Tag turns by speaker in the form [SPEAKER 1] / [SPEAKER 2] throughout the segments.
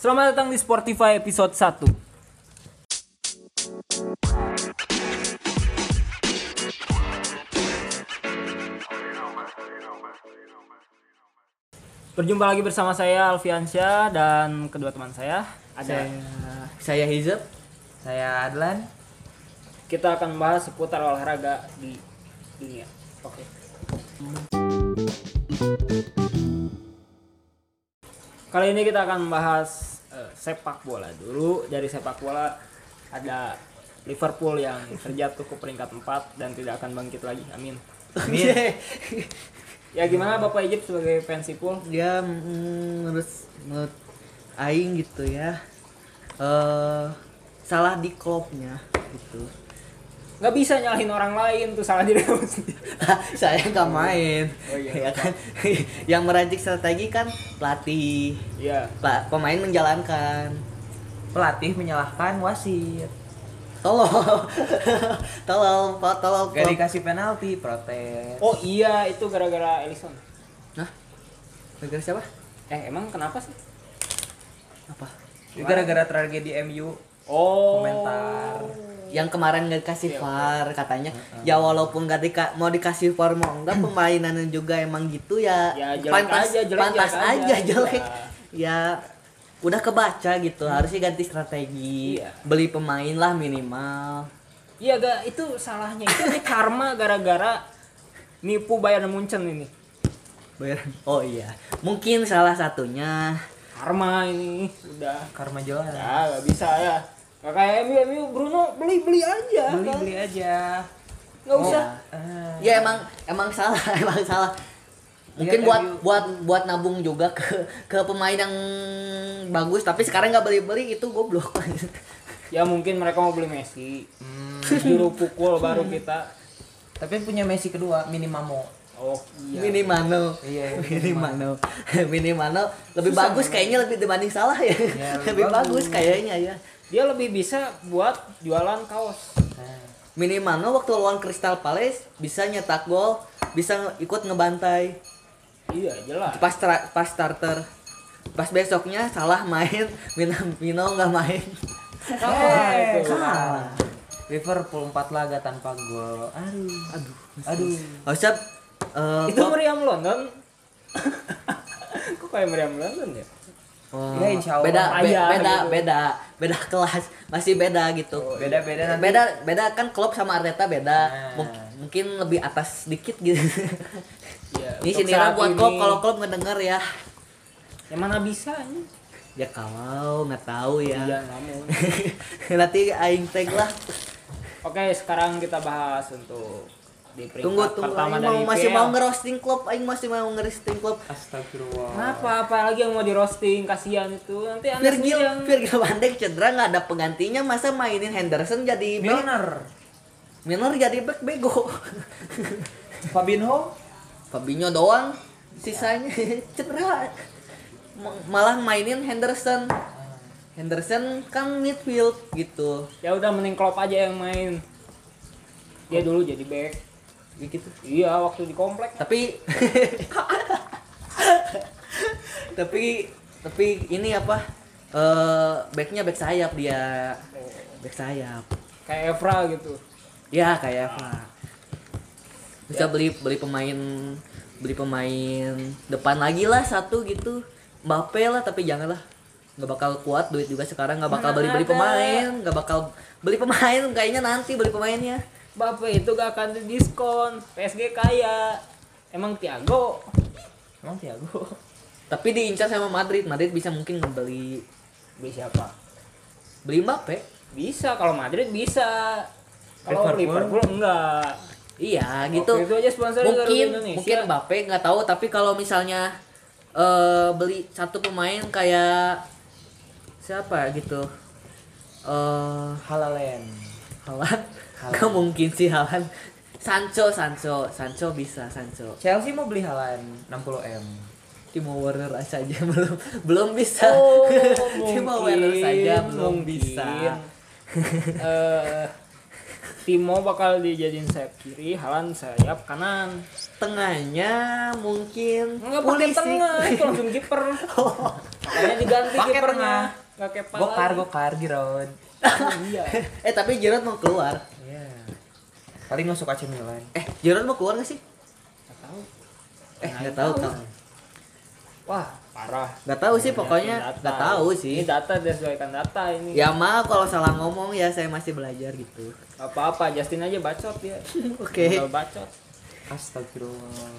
[SPEAKER 1] Selamat datang di Sportify episode 1 Berjumpa lagi bersama saya Alfiansyah dan kedua teman saya
[SPEAKER 2] Saya,
[SPEAKER 1] ada
[SPEAKER 2] saya Hizab, saya Adlan.
[SPEAKER 1] kita akan bahas seputar olahraga di dunia. Oke. Kali ini kita akan membahas eh, sepak bola dulu. Dari sepak bola ada Liverpool yang terjatuh ke peringkat 4 dan tidak akan bangkit lagi. Amin.
[SPEAKER 3] Iya.
[SPEAKER 2] Dia,
[SPEAKER 1] Ya gimana Bapak Ijip sebagai fans Liverpool?
[SPEAKER 2] dia mm, menurut menurut Aing gitu ya, eh salah di klubnya gitu.
[SPEAKER 1] Nggak bisa nyalahin orang lain tuh salah diri kamu sendiri.
[SPEAKER 2] saya nggak main,
[SPEAKER 1] Oh, iya.
[SPEAKER 2] ya kan? Yang meracik strategi kan pelatih,
[SPEAKER 1] Iya.
[SPEAKER 2] Pla- pemain menjalankan.
[SPEAKER 3] pelatih menyalahkan wasit
[SPEAKER 2] Tolong, tolong, Pak, tolong. klub.
[SPEAKER 3] gak dikasih penalti protes
[SPEAKER 1] Oh iya itu gara-gara Ellison.
[SPEAKER 2] Hah? Negara siapa?
[SPEAKER 1] Eh emang kenapa sih?
[SPEAKER 2] Apa?
[SPEAKER 3] Ini gara-gara tragedi MU
[SPEAKER 1] Oh.
[SPEAKER 3] Komentar.
[SPEAKER 2] yang kemarin nggak dikasih
[SPEAKER 1] Iya,
[SPEAKER 2] VAR katanya ya walaupun nggak dika- mau dikasih VAR mau enggak pemainannya juga emang gitu ya,
[SPEAKER 1] Hmm. Ya, jelek
[SPEAKER 2] pantas
[SPEAKER 1] aja, jelek,
[SPEAKER 2] pantas
[SPEAKER 1] jelek
[SPEAKER 2] aja,
[SPEAKER 1] aja, Iya.
[SPEAKER 2] jelek ya udah kebaca gitu harusnya ganti strategi
[SPEAKER 1] Iya.
[SPEAKER 2] beli pemain lah minimal
[SPEAKER 1] Iya gak itu salahnya itu ini karma gara-gara nipu Bayern Munchen ini
[SPEAKER 2] bayaran oh iya mungkin salah satunya
[SPEAKER 1] karma ini udah
[SPEAKER 3] karma jelas
[SPEAKER 1] ya gak bisa ya Gak kayak MU MU Bruno beli beli Oh, aja
[SPEAKER 3] beli
[SPEAKER 1] kan?
[SPEAKER 3] beli aja
[SPEAKER 1] nggak usah
[SPEAKER 3] Eh,
[SPEAKER 2] ya emang emang salah emang salah
[SPEAKER 1] Iya,
[SPEAKER 2] mungkin
[SPEAKER 3] Lihat
[SPEAKER 2] buat
[SPEAKER 3] MU.
[SPEAKER 2] buat buat nabung juga ke ke pemain yang bagus tapi sekarang nggak beli beli itu goblok
[SPEAKER 1] ya mungkin mereka mau beli Messi
[SPEAKER 3] hmm,
[SPEAKER 1] juru pukul baru kita
[SPEAKER 3] tapi punya Messi kedua minimamo
[SPEAKER 1] oh iya
[SPEAKER 2] Mini Mano.
[SPEAKER 3] Iya,
[SPEAKER 2] Mini Mano. Mini Mano lebih bagus kayaknya lebih dibanding salah ya.
[SPEAKER 3] Iya,
[SPEAKER 2] lebih
[SPEAKER 3] lebih
[SPEAKER 2] bagus
[SPEAKER 3] bagus.
[SPEAKER 2] kayaknya ya.
[SPEAKER 1] dia lebih bisa buat jualan kaos
[SPEAKER 3] Nah,
[SPEAKER 2] Mini Mano waktu lawan Crystal Palace bisa nyetak gol, bisa nge- ikut ngebantai.
[SPEAKER 1] iya jelas
[SPEAKER 2] Pas tra- pas starter. Pas besoknya salah main, Mino Mino nggak main.
[SPEAKER 1] Kalah
[SPEAKER 3] eh,
[SPEAKER 1] itu.
[SPEAKER 3] kalah. Liverpool 4 laga tanpa gol aduh
[SPEAKER 2] Aduh.
[SPEAKER 3] aduh
[SPEAKER 2] Harusnya eh,
[SPEAKER 1] itu
[SPEAKER 2] Klopp-
[SPEAKER 1] meriam London kok kayak meriam London ya
[SPEAKER 2] Oh,
[SPEAKER 3] Ya, insya Allah.
[SPEAKER 2] beda be-
[SPEAKER 1] Ayah,
[SPEAKER 2] beda
[SPEAKER 1] gitu.
[SPEAKER 2] beda beda kelas masih beda gitu
[SPEAKER 3] beda-beda nanti
[SPEAKER 2] beda beda kan klub sama Arteta beda
[SPEAKER 3] Nah.
[SPEAKER 2] Mung- mungkin lebih atas sedikit gitu
[SPEAKER 1] Iya, untuk
[SPEAKER 2] ini sini lah
[SPEAKER 1] saat
[SPEAKER 2] buat
[SPEAKER 1] ini-
[SPEAKER 2] klub kalau klub ngedenger ya
[SPEAKER 1] ya mana bisa ini
[SPEAKER 2] ya kalau nggak tahu
[SPEAKER 1] iya
[SPEAKER 2] ya
[SPEAKER 1] nggak mau.
[SPEAKER 2] nanti aing tag lah
[SPEAKER 1] Oke, sekarang kita bahas untuk di peringkat
[SPEAKER 2] tunggu tunggu
[SPEAKER 1] pertama
[SPEAKER 2] aing
[SPEAKER 1] dari
[SPEAKER 2] mau, masih
[SPEAKER 1] IPL.
[SPEAKER 2] mau ngerosting klub aing masih mau ngerosting klub
[SPEAKER 3] astagfirullah
[SPEAKER 1] Kenapa? Apa lagi yang mau di roasting? Kasihan itu. Nanti anda sendiri
[SPEAKER 2] Virgil
[SPEAKER 1] yang
[SPEAKER 2] Virgil van Dijk cedera nggak ada penggantinya masa mainin Henderson jadi back
[SPEAKER 3] Milner
[SPEAKER 2] Milner jadi back bego
[SPEAKER 3] Fabinho
[SPEAKER 2] Fabinho doang sisanya cedera Ma- malah mainin Henderson Henderson kan midfield gitu
[SPEAKER 1] ya udah mending Klopp aja yang main. Dia dulu jadi back.
[SPEAKER 2] gitu
[SPEAKER 1] Iya, waktu di komplek.
[SPEAKER 2] tapi tapi tapi ini apa eh backnya back sayap dia back sayap
[SPEAKER 1] Kayak Evra gitu.
[SPEAKER 2] ya kayak apa bisa
[SPEAKER 1] Ya.
[SPEAKER 2] beli beli pemain beli pemain depan lagi lah satu gitu Mbappe lah tapi janganlah nggak bakal kuat duit juga sekarang nggak bakal
[SPEAKER 1] Mana
[SPEAKER 2] beli beli
[SPEAKER 1] ada.
[SPEAKER 2] pemain nggak bakal beli pemain kayaknya nanti beli pemainnya
[SPEAKER 1] Bapak itu gak akan di diskon. PSG kaya. Emang Tiago
[SPEAKER 3] emang Thiago
[SPEAKER 2] tapi diincar sama Madrid Madrid bisa mungkin ngebeli
[SPEAKER 1] beli siapa?
[SPEAKER 2] beli Mbappe
[SPEAKER 1] Bisa kalau Madrid bisa. Kalau
[SPEAKER 3] Liverpool?
[SPEAKER 1] Liverpool enggak.
[SPEAKER 2] Iya
[SPEAKER 1] Waktu
[SPEAKER 2] gitu.
[SPEAKER 1] itu aja sponsornya
[SPEAKER 2] mungkin
[SPEAKER 1] Garuda Indonesia.
[SPEAKER 2] mungkin Mbappe nggak tahu tapi kalau misalnya eh beli satu pemain kayak siapa gitu. Eh
[SPEAKER 3] Halalen
[SPEAKER 2] Halan.
[SPEAKER 3] Haaland.
[SPEAKER 2] Nggak mungkin sih Halan. Sancho, Sancho, Sancho bisa Sancho.
[SPEAKER 3] Chelsea mau beli Haaland 60 m
[SPEAKER 2] Timo Werner aja belum belum bisa.
[SPEAKER 1] Oh,
[SPEAKER 2] Timo Werner saja
[SPEAKER 1] mungkin.
[SPEAKER 2] belum bisa.
[SPEAKER 1] Eh, Timo bakal dijadiin sayap kiri, Halan sayap kanan.
[SPEAKER 2] Tengahnya mungkin
[SPEAKER 1] Enggak pakai
[SPEAKER 2] Pulisic.
[SPEAKER 1] tengah, itu langsung kiper. Hanya diganti
[SPEAKER 3] Pakai
[SPEAKER 1] kipernya.
[SPEAKER 3] tengah.
[SPEAKER 1] Enggak kayak pala.
[SPEAKER 3] Gokar, gokar, Giron.
[SPEAKER 1] Iya.
[SPEAKER 2] eh tapi Gerard mau keluar.
[SPEAKER 3] Iya. Paling masuk AC Milan.
[SPEAKER 2] Eh Gerard mau keluar gak sih?
[SPEAKER 1] Nggak tahu.
[SPEAKER 2] Eh
[SPEAKER 1] Nah,
[SPEAKER 2] nggak tahu kan?
[SPEAKER 1] Wah, parah.
[SPEAKER 2] Nggak tahu sih pokoknya
[SPEAKER 1] Data.
[SPEAKER 2] nggak tahu
[SPEAKER 1] Ini
[SPEAKER 2] sih.
[SPEAKER 1] data disesuaikan data ini.
[SPEAKER 2] Ya maaf kalau salah ngomong ya saya masih belajar gitu.
[SPEAKER 1] Apa-apa Justin aja bacot ya.
[SPEAKER 2] Oke.
[SPEAKER 1] Tinggal bacot.
[SPEAKER 3] Astagfirullah.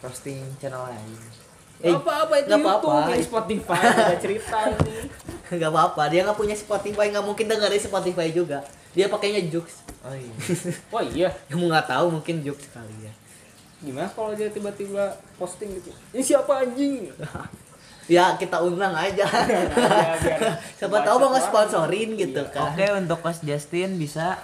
[SPEAKER 3] Roasting channel lain.
[SPEAKER 2] Eh,
[SPEAKER 1] apa-apa itu
[SPEAKER 2] nggak
[SPEAKER 1] YouTube,
[SPEAKER 2] apa-apa.
[SPEAKER 1] ini Spotify ada cerita ini.
[SPEAKER 2] nggak apa-apa dia nggak punya Spotify nggak mungkin dengerin Spotify juga. Dia pakainya Jux.
[SPEAKER 3] Oh iya.
[SPEAKER 1] Wah iya,
[SPEAKER 2] Ya mau nggak tahu mungkin Jux kali ya.
[SPEAKER 1] gimana kalau dia tiba-tiba posting gitu? Ini siapa anjing? Nah,
[SPEAKER 2] Ya kita undang aja.
[SPEAKER 1] Ya, biar Iya,
[SPEAKER 2] Siapa tahu mau
[SPEAKER 1] bacot
[SPEAKER 2] ngesponsorin gitu kan.
[SPEAKER 3] Oke, untuk Coach Justin bisa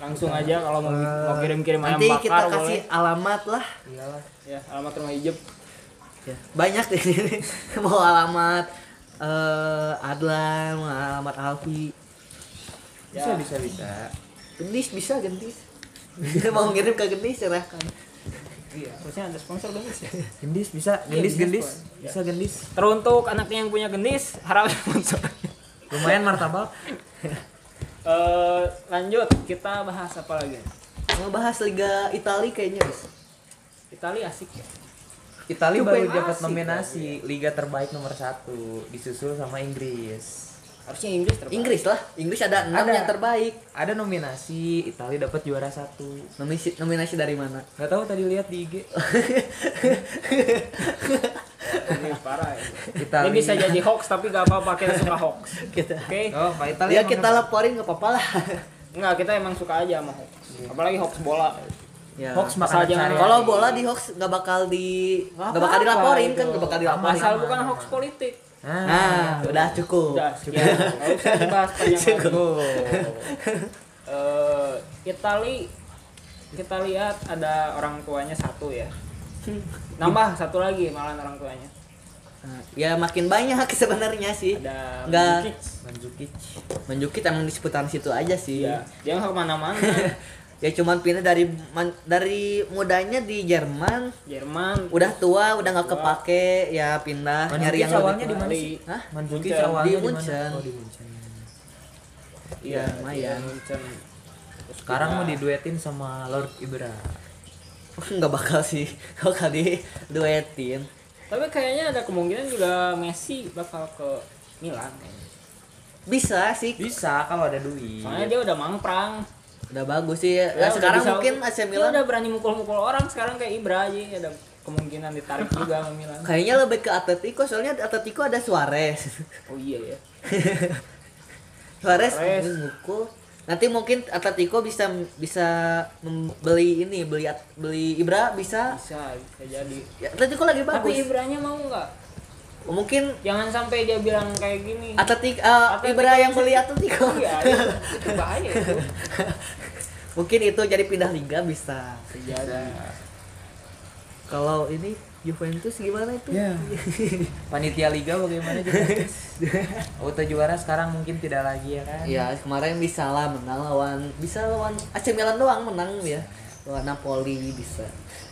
[SPEAKER 1] langsung aja kalau mau, mau kirim-kirim ayam
[SPEAKER 2] Nanti
[SPEAKER 1] bakar
[SPEAKER 2] kita
[SPEAKER 1] boleh.
[SPEAKER 2] kasih alamat lah.
[SPEAKER 3] iyalah.
[SPEAKER 1] ya alamat rumah hijab
[SPEAKER 2] Ya, Banyak di sini. mau alamat eh Adlan, mau alamat Alfi.
[SPEAKER 1] Ya.
[SPEAKER 3] Bisa, bisa, bisa.
[SPEAKER 2] Gendis bisa gendis. mau ngirim ke gendis silahkan.
[SPEAKER 1] iya harusnya ada sponsor dong guys.
[SPEAKER 3] Gendis bisa, gendis, gendis. Bisa gendis.
[SPEAKER 1] teruntuk anaknya yang punya gendis harap sponsor
[SPEAKER 3] Lumayan martabak.
[SPEAKER 1] Eh, lanjut kita bahas apa lagi
[SPEAKER 2] Ngebahas Liga Italia kayaknya guys.
[SPEAKER 1] Itali asik ya
[SPEAKER 3] Italia
[SPEAKER 1] Cukup
[SPEAKER 3] baru
[SPEAKER 1] yang
[SPEAKER 3] dapat
[SPEAKER 1] asik,
[SPEAKER 3] nominasi Liga terbaik nomor satu disusul sama Inggris.
[SPEAKER 1] harusnya Inggris terbaik
[SPEAKER 2] Inggris lah. Inggris ada enam
[SPEAKER 3] Ada.
[SPEAKER 2] yang terbaik.
[SPEAKER 3] Ada nominasi Italia dapat juara satu.
[SPEAKER 2] Nominasi, nominasi dari mana?
[SPEAKER 3] Gak tahu tadi lihat di IG.
[SPEAKER 1] Ini parah ya.
[SPEAKER 3] Itali.
[SPEAKER 1] ini bisa jadi hoax tapi gak apa-apa kita suka hoax
[SPEAKER 2] kita.
[SPEAKER 1] oke
[SPEAKER 3] Oh, Pak Italia.
[SPEAKER 2] Ya
[SPEAKER 3] emang
[SPEAKER 2] kita
[SPEAKER 3] hebat.
[SPEAKER 2] laporin nggak apa-apa lah.
[SPEAKER 1] nggak kita emang suka aja sama hoax apalagi hoax bola
[SPEAKER 2] Ya.
[SPEAKER 3] hoax
[SPEAKER 1] Asal
[SPEAKER 3] makanan
[SPEAKER 1] jangan-
[SPEAKER 3] sehari-hari.
[SPEAKER 2] Kalau bola di hoax nggak bakal di
[SPEAKER 3] Nggak
[SPEAKER 2] nggak bakal
[SPEAKER 3] apa-apa
[SPEAKER 2] dilaporin
[SPEAKER 3] itu.
[SPEAKER 2] kan nggak bakal dilaporin.
[SPEAKER 1] asal bukan hoax politik
[SPEAKER 3] Nah,
[SPEAKER 2] Nah, udah cukup.
[SPEAKER 1] udah sekian nggak usah dibahas panjang lagi
[SPEAKER 3] oh.
[SPEAKER 1] eh Itali kita lihat ada orang tuanya satu ya nambah satu lagi malah orang tuanya
[SPEAKER 2] Nah, Ya makin banyak sebenarnya sih.
[SPEAKER 1] ada
[SPEAKER 2] Nggak.
[SPEAKER 1] Mandzukic.
[SPEAKER 3] Mandzukic.
[SPEAKER 2] Menjukit emang di seputaran situ aja sih.
[SPEAKER 1] Iya, dia nggak kemana-mana
[SPEAKER 2] ya cuman pindah dari man- dari mudanya di Jerman
[SPEAKER 1] Jerman
[SPEAKER 2] udah tua udah nggak kepake ya pindah
[SPEAKER 3] Mandzukic
[SPEAKER 2] nyari yang
[SPEAKER 3] awalnya di
[SPEAKER 2] tua.
[SPEAKER 3] mana
[SPEAKER 1] sih?
[SPEAKER 2] Hah?
[SPEAKER 3] Mandzukic
[SPEAKER 1] Munchen.
[SPEAKER 2] Di
[SPEAKER 3] awalnya di
[SPEAKER 2] Munchen.
[SPEAKER 3] mana? Oh, di Munchen.
[SPEAKER 2] Iya, lumayan.
[SPEAKER 1] dia Munchen. Terus
[SPEAKER 3] Sekarang mau
[SPEAKER 1] pindah.
[SPEAKER 3] diduetin sama Lord Ibra.
[SPEAKER 2] nggak bakal sih kalau kali duetin
[SPEAKER 1] tapi kayaknya ada kemungkinan juga Messi bakal ke Milan kayaknya.
[SPEAKER 2] bisa sih
[SPEAKER 3] Bisa kalau ada duit.
[SPEAKER 1] soalnya dia udah mangprang
[SPEAKER 2] udah bagus sih ya,
[SPEAKER 1] Ya, udah
[SPEAKER 2] sekarang
[SPEAKER 1] bisa-
[SPEAKER 2] mungkin AC Milan
[SPEAKER 1] dia udah berani mukul-mukul orang sekarang kayak Ibra aja ada kemungkinan ditarik juga ke Milan
[SPEAKER 2] kayaknya lebih ke Atletico soalnya di Atletico ada Suarez
[SPEAKER 1] oh iya ya
[SPEAKER 2] Suarez
[SPEAKER 1] Suarez.
[SPEAKER 2] mukul nanti mungkin Atletico bisa bisa membeli ini beli at- beli Ibra bisa
[SPEAKER 1] bisa bisa jadi
[SPEAKER 2] ya, Atletico lagi
[SPEAKER 1] tapi
[SPEAKER 2] bagus
[SPEAKER 1] Ibranya mau nggak
[SPEAKER 2] mungkin
[SPEAKER 1] jangan sampai dia bilang kayak gini
[SPEAKER 2] Atletik eh,
[SPEAKER 1] Atletico
[SPEAKER 2] Ibra yang beli Atletico
[SPEAKER 1] iya itu, itu bahaya itu
[SPEAKER 2] mungkin itu jadi pindah liga bisa
[SPEAKER 1] terjadi
[SPEAKER 2] kalau ini Juventus gimana itu
[SPEAKER 3] Ya. Panitia Liga bagaimana juga? Auto juara sekarang mungkin tidak lagi ya kan?
[SPEAKER 2] Ya kemarin bisa lah menang lawan bisa lawan AC Milan doang menang ya lawan Napoli bisa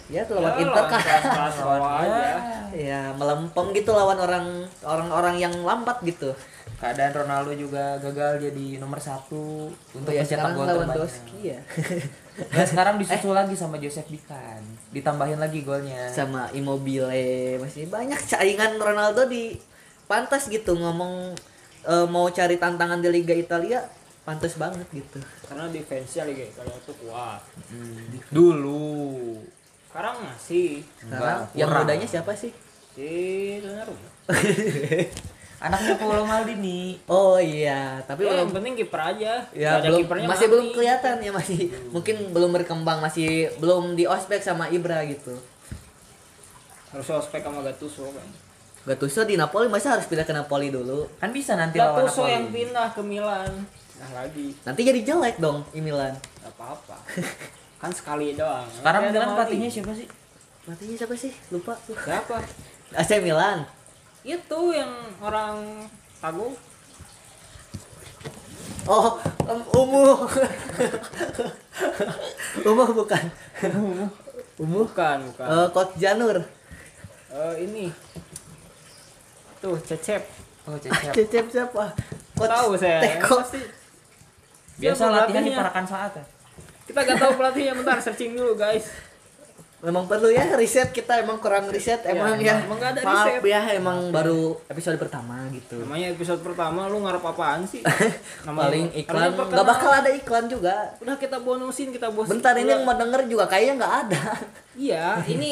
[SPEAKER 2] ya lawan Inter kan
[SPEAKER 1] kelas aja
[SPEAKER 2] ya melempem gitu lawan orang orang-orang yang lambat gitu
[SPEAKER 3] Keadaan Ronaldo juga gagal jadi nomor satu untuk
[SPEAKER 2] ya
[SPEAKER 3] mencetak
[SPEAKER 2] sekarang
[SPEAKER 3] gol
[SPEAKER 2] lawan
[SPEAKER 3] terbanyak.
[SPEAKER 2] Doski Eh. ya
[SPEAKER 3] Dan Nah, sekarang disusul lagi sama Joseph Bikan, ditambahin lagi golnya.
[SPEAKER 2] sama Immobile masih banyak saingan Ronaldo di pantas gitu ngomong eh, mau cari tantangan di Liga Italia pantas banget gitu
[SPEAKER 1] karena defense-nya lagi kalau itu kuat
[SPEAKER 3] Hmm. Dulu.
[SPEAKER 1] sekarang masih
[SPEAKER 2] sekarang
[SPEAKER 3] Enggak,
[SPEAKER 2] yang
[SPEAKER 3] kurang.
[SPEAKER 2] mudanya siapa sih
[SPEAKER 1] si Donnarumma
[SPEAKER 3] Anaknya Paolo Maldini.
[SPEAKER 2] oh iya tapi
[SPEAKER 1] ya,
[SPEAKER 2] belum
[SPEAKER 1] yang penting kiper aja Nggak
[SPEAKER 2] ya
[SPEAKER 1] ada
[SPEAKER 2] belum
[SPEAKER 1] kipernya
[SPEAKER 2] masih
[SPEAKER 1] mati.
[SPEAKER 2] belum kelihatan ya masih mungkin belum berkembang masih belum di ospek sama Ibra gitu
[SPEAKER 1] harus ospek sama Gattuso kan
[SPEAKER 2] Gattuso di Napoli masa harus pindah ke Napoli dulu
[SPEAKER 3] Kan bisa nanti lawan
[SPEAKER 1] Gattuso
[SPEAKER 3] Napoli.
[SPEAKER 1] yang pindah ke Milan nah lagi
[SPEAKER 2] nanti jadi jelek dong di Milan
[SPEAKER 1] nggak apa-apa kan sekali doang
[SPEAKER 3] Sekarang
[SPEAKER 1] Kayak
[SPEAKER 3] Milan
[SPEAKER 1] Mali.
[SPEAKER 3] pelatihnya siapa sih?
[SPEAKER 2] pelatihnya siapa sih lupa
[SPEAKER 1] siapa
[SPEAKER 2] AC Milan
[SPEAKER 1] itu yang orang tagu
[SPEAKER 2] Oh, um, Umuh. Umuh bukan. Umuh.
[SPEAKER 1] Bukan, bukan.
[SPEAKER 2] Eh, Coach Janur.
[SPEAKER 1] Eh, ini. Tuh, Cecep.
[SPEAKER 3] Oh, Cecep.
[SPEAKER 2] Cecep siapa? Coach
[SPEAKER 1] Tahu saya.
[SPEAKER 2] Teko.
[SPEAKER 3] Biasa
[SPEAKER 1] Siapa
[SPEAKER 3] latihan di
[SPEAKER 1] pelatihnya?
[SPEAKER 3] parakan saat ya.
[SPEAKER 1] Kita gak tahu pelatihnya, bentar searching dulu, guys.
[SPEAKER 2] Memang perlu ya riset kita emang kurang riset emang ya.
[SPEAKER 1] Iya, emang nggak ada
[SPEAKER 2] Maaf
[SPEAKER 1] riset. Iya.
[SPEAKER 2] ya emang baru episode pertama gitu.
[SPEAKER 1] Namanya episode pertama lu ngarep apaan sih? Namanya-
[SPEAKER 2] Paling iklan
[SPEAKER 1] Harusnya
[SPEAKER 2] nggak bakal
[SPEAKER 1] perkenalan.
[SPEAKER 2] ada iklan juga.
[SPEAKER 1] Udah kita bonusin, kita bosin.
[SPEAKER 2] Bentar ini
[SPEAKER 1] dulu.
[SPEAKER 2] yang mau denger juga kayaknya nggak ada.
[SPEAKER 1] Iya, ini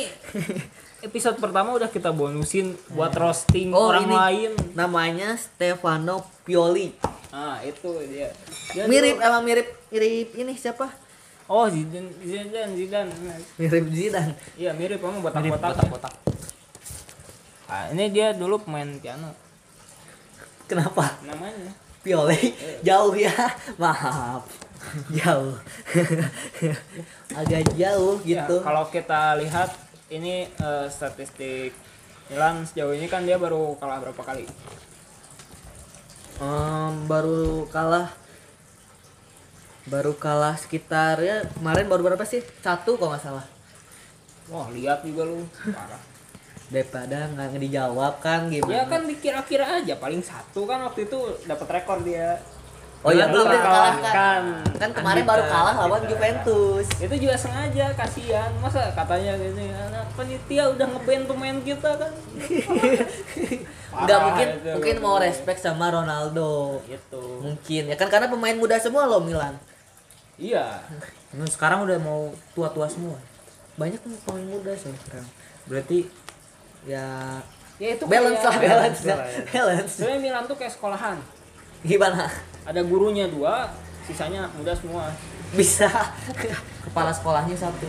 [SPEAKER 1] episode pertama udah kita bonusin buat roasting
[SPEAKER 2] Oh,
[SPEAKER 1] orang
[SPEAKER 2] ini.
[SPEAKER 1] lain.
[SPEAKER 2] Namanya Stefano Pioli.
[SPEAKER 1] Ah, itu dia. Dia Ya,
[SPEAKER 2] Mirip
[SPEAKER 1] dulu-
[SPEAKER 2] emang mirip mirip ini siapa?
[SPEAKER 1] Oh, Zidane, Zidane, Zidane.
[SPEAKER 2] Mirip Zidane.
[SPEAKER 1] Iya mirip emang botak-botak.
[SPEAKER 3] kotak.
[SPEAKER 1] Ah, ini dia dulu pemain piano
[SPEAKER 2] Kenapa?
[SPEAKER 1] namanya.
[SPEAKER 2] Pioli
[SPEAKER 1] Eh.
[SPEAKER 2] jauh ya. Maaf. Jauh. Agak jauh
[SPEAKER 1] Ya,
[SPEAKER 2] gitu.
[SPEAKER 1] kalau kita lihat ini eh, statistik Milan sejauh ini kan dia baru kalah berapa kali?
[SPEAKER 2] Em, baru kalah baru kalah sekitar ya kemarin baru berapa sih? Satu kalau nggak salah.
[SPEAKER 1] Wah, lihat juga lu. Parah.
[SPEAKER 2] Daripada nggak dijawab kan
[SPEAKER 1] ya
[SPEAKER 2] gimana?
[SPEAKER 1] kan dikira-kira aja paling satu kan waktu itu dapat rekor dia.
[SPEAKER 2] Oh iya
[SPEAKER 1] Baru
[SPEAKER 2] belum
[SPEAKER 1] terkalahkan.
[SPEAKER 2] dikalahkan. Kan kemarin baru kalah lawan Juventus.
[SPEAKER 1] Itu juga sengaja kasihan. Masa katanya gini, anak penitia udah ngeband pemain kita kan.
[SPEAKER 2] Enggak
[SPEAKER 1] Parah
[SPEAKER 2] mungkin
[SPEAKER 1] itu.
[SPEAKER 2] mungkin mau respect sama Ronaldo.
[SPEAKER 1] Gitu.
[SPEAKER 2] Mungkin ya kan karena pemain muda semua loh Milan.
[SPEAKER 1] Iya.
[SPEAKER 3] Nah, sekarang udah mau tua-tua semua.
[SPEAKER 2] Banyak tuh pemain muda sih sekarang.
[SPEAKER 3] Berarti
[SPEAKER 2] Ya
[SPEAKER 1] Ya itu
[SPEAKER 2] balance lah
[SPEAKER 1] kayak-
[SPEAKER 2] balance.
[SPEAKER 3] lah
[SPEAKER 2] Balance.
[SPEAKER 3] ya.
[SPEAKER 2] balance.
[SPEAKER 1] Sebenarnya Milan tuh kayak sekolahan.
[SPEAKER 2] Gimana?
[SPEAKER 1] Ada gurunya dua, sisanya anak muda semua.
[SPEAKER 2] Bisa
[SPEAKER 3] kepala sekolahnya satu.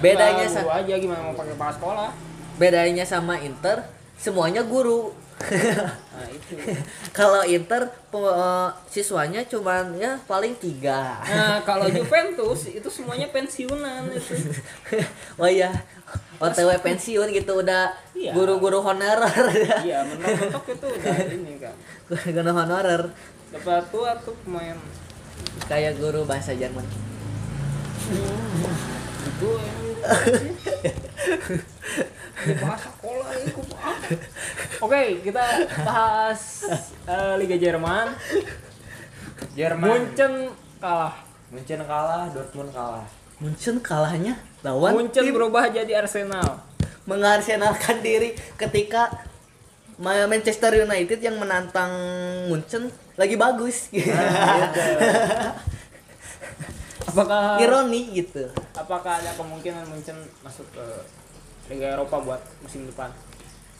[SPEAKER 2] bedanya
[SPEAKER 1] Nah,
[SPEAKER 2] sa-
[SPEAKER 1] guru aja gimana mau pakai kepala sekolah.
[SPEAKER 2] bedanya sama Inter semuanya guru.
[SPEAKER 1] Nah, itu.
[SPEAKER 2] Kalau Inter pe- eh, siswanya cuman ya paling tiga.
[SPEAKER 1] Nah, kalau Juventus itu semuanya pensiunan itu.
[SPEAKER 2] oh iya OTW pensiun gitu udah
[SPEAKER 1] Iya.
[SPEAKER 2] guru-guru honorer
[SPEAKER 1] Iya, mentok-mentok itu udah ini kan.
[SPEAKER 2] guru-guru honorer
[SPEAKER 1] Dapat tua tuh pemain
[SPEAKER 2] kayak guru bahasa Jerman
[SPEAKER 1] itu yang Ini bahasa sekolah ini ku paham. Oke, kita bahas eh, Liga Jerman.
[SPEAKER 3] Jerman.
[SPEAKER 1] Munchen kalah.
[SPEAKER 3] Munchen kalah, Dortmund kalah.
[SPEAKER 2] Munchen kalahnya lawan
[SPEAKER 1] Munchen berubah jadi Arsenal.
[SPEAKER 2] mengarsenalkan diri ketika Ma- Manchester United yang menantang Munchen lagi bagus Gitu.
[SPEAKER 3] Ah.
[SPEAKER 1] Apakah
[SPEAKER 2] ironi gitu
[SPEAKER 1] apakah ada kemungkinan Munchen masuk ke Liga Eropa buat musim depan?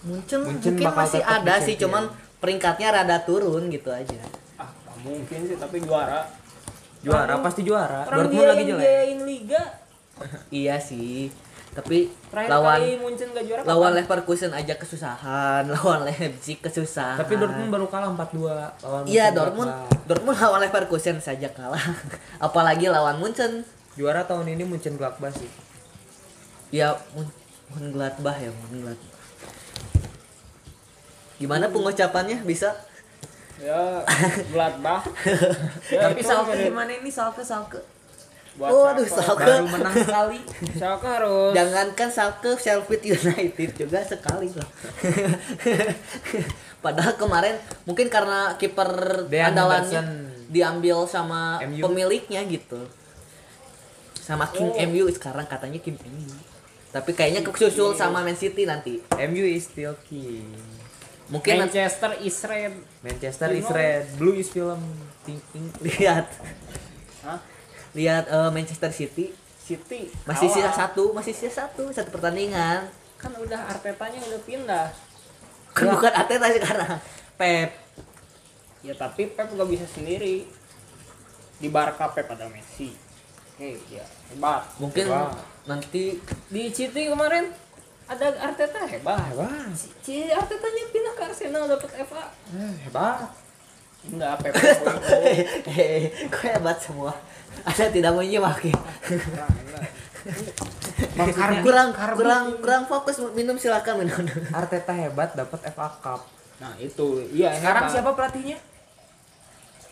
[SPEAKER 2] Munchen, mungkin
[SPEAKER 3] Munchen bakal
[SPEAKER 2] masih
[SPEAKER 3] tetap
[SPEAKER 2] ada
[SPEAKER 3] di
[SPEAKER 2] sih
[SPEAKER 3] champion.
[SPEAKER 2] cuman peringkatnya rada turun gitu aja
[SPEAKER 1] Ah, nggak mungkin sih, tapi juara.
[SPEAKER 3] Juara
[SPEAKER 1] Orang-
[SPEAKER 3] pasti juara.
[SPEAKER 1] Orang
[SPEAKER 3] Nah, Dortmund
[SPEAKER 1] dia
[SPEAKER 3] lagi
[SPEAKER 1] yang
[SPEAKER 3] jelek.
[SPEAKER 1] biayain Liga.
[SPEAKER 2] iya sih tapi
[SPEAKER 1] Terakhir
[SPEAKER 2] lawan
[SPEAKER 1] kali Munchen gak juara.
[SPEAKER 2] lawan Leverkusen aja kesusahan, lawan Leipzig kesusahan.
[SPEAKER 3] Tapi Dortmund baru kalah 4-2 lawan
[SPEAKER 2] Iya
[SPEAKER 3] Munchen
[SPEAKER 2] Dortmund,
[SPEAKER 3] kalah.
[SPEAKER 2] Dortmund lawan Leverkusen saja kalah. Apalagi lawan Munchen.
[SPEAKER 3] Juara tahun ini Munchen Gladbach sih.
[SPEAKER 2] Ya Mun- Mönchengladbach ya Mönchengladbach. Gimana pengucapannya bisa?
[SPEAKER 1] ya Gladbach. ya,
[SPEAKER 2] Tapi
[SPEAKER 1] itu
[SPEAKER 2] Salke
[SPEAKER 1] menit
[SPEAKER 2] gimana ini Salke Salke?
[SPEAKER 1] buat
[SPEAKER 2] Waduh
[SPEAKER 1] Schalke.
[SPEAKER 2] Salke.
[SPEAKER 3] Baru menang sekali.
[SPEAKER 1] Schalke harus
[SPEAKER 2] Jangankan Salke Sheffield United juga sekali lah. Padahal kemarin mungkin karena kiper
[SPEAKER 3] Dean
[SPEAKER 2] andalannya
[SPEAKER 3] Henderson.
[SPEAKER 2] diambil sama
[SPEAKER 3] MU.
[SPEAKER 2] pemiliknya gitu. Sama King
[SPEAKER 1] Oh.
[SPEAKER 2] MU sekarang katanya King MU. Tapi kayaknya kesusul sama Man City nanti.
[SPEAKER 3] MU is still king.
[SPEAKER 2] Mungkin nanti
[SPEAKER 1] Manchester is red.
[SPEAKER 3] Manchester
[SPEAKER 1] You
[SPEAKER 3] is
[SPEAKER 1] know.
[SPEAKER 3] red, blue is film. Ting, ting.
[SPEAKER 2] lihat
[SPEAKER 1] Hah?
[SPEAKER 2] lihat eh, Manchester City
[SPEAKER 1] City
[SPEAKER 2] masih sisa
[SPEAKER 1] kalah.
[SPEAKER 2] satu, masih sisa satu, satu pertandingan.
[SPEAKER 1] kan udah Artetanya udah pindah.
[SPEAKER 2] Kan bukan Arteta sekarang. Pep
[SPEAKER 1] Ya tapi Pep gak bisa sendiri. Di Barca Pep ada Messi. Oke, ya hebat.
[SPEAKER 2] mungkin
[SPEAKER 3] Wah.
[SPEAKER 2] nanti
[SPEAKER 1] Di City kemarin ada Arteta hebat.
[SPEAKER 3] Hebat.
[SPEAKER 1] Si, si Artetanya pindah ke Arsenal dapat FA.
[SPEAKER 3] Eh, Hebat.
[SPEAKER 1] Enggak Pep.
[SPEAKER 2] Hehehe, kok hebat semua ada tidak menyimak ya?
[SPEAKER 3] Maksudnya
[SPEAKER 2] kurang kurang kurang fokus minum silakan minum
[SPEAKER 3] Arteta hebat dapat FA Cup.
[SPEAKER 1] Nah, itu. Iya,
[SPEAKER 3] Sekarang
[SPEAKER 1] hebat.
[SPEAKER 3] siapa pelatihnya?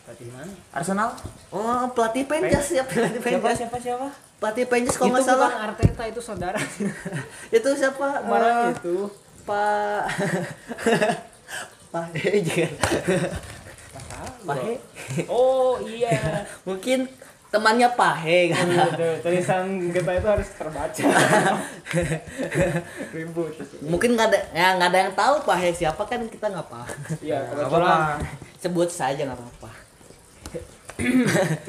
[SPEAKER 1] Pelatih mana?
[SPEAKER 3] Arsenal?
[SPEAKER 2] Oh, pelatih Penjas ya, pelatih
[SPEAKER 3] Siapa
[SPEAKER 2] Penjas.
[SPEAKER 3] siapa siapa?
[SPEAKER 2] Pelatih Penjas kalau nggak
[SPEAKER 1] itu
[SPEAKER 2] salah.
[SPEAKER 1] bukan Arteta itu saudara.
[SPEAKER 2] Itu siapa?
[SPEAKER 1] Marah ya?
[SPEAKER 2] Eh,
[SPEAKER 1] itu.
[SPEAKER 2] Pak Pak He juga. Pak He.
[SPEAKER 1] Oh iya.
[SPEAKER 2] Mungkin temannya Pak He kan.
[SPEAKER 1] Tuh, tulisan kita itu harus terbaca. Ribut.
[SPEAKER 2] Mungkin nggak ada ya nggak ada yang tahu Pak He siapa kan kita nggak paham.
[SPEAKER 1] Iya,
[SPEAKER 3] Nggak
[SPEAKER 1] kebetulan
[SPEAKER 3] apa-apa.
[SPEAKER 2] Sebut saja nggak apa-apa.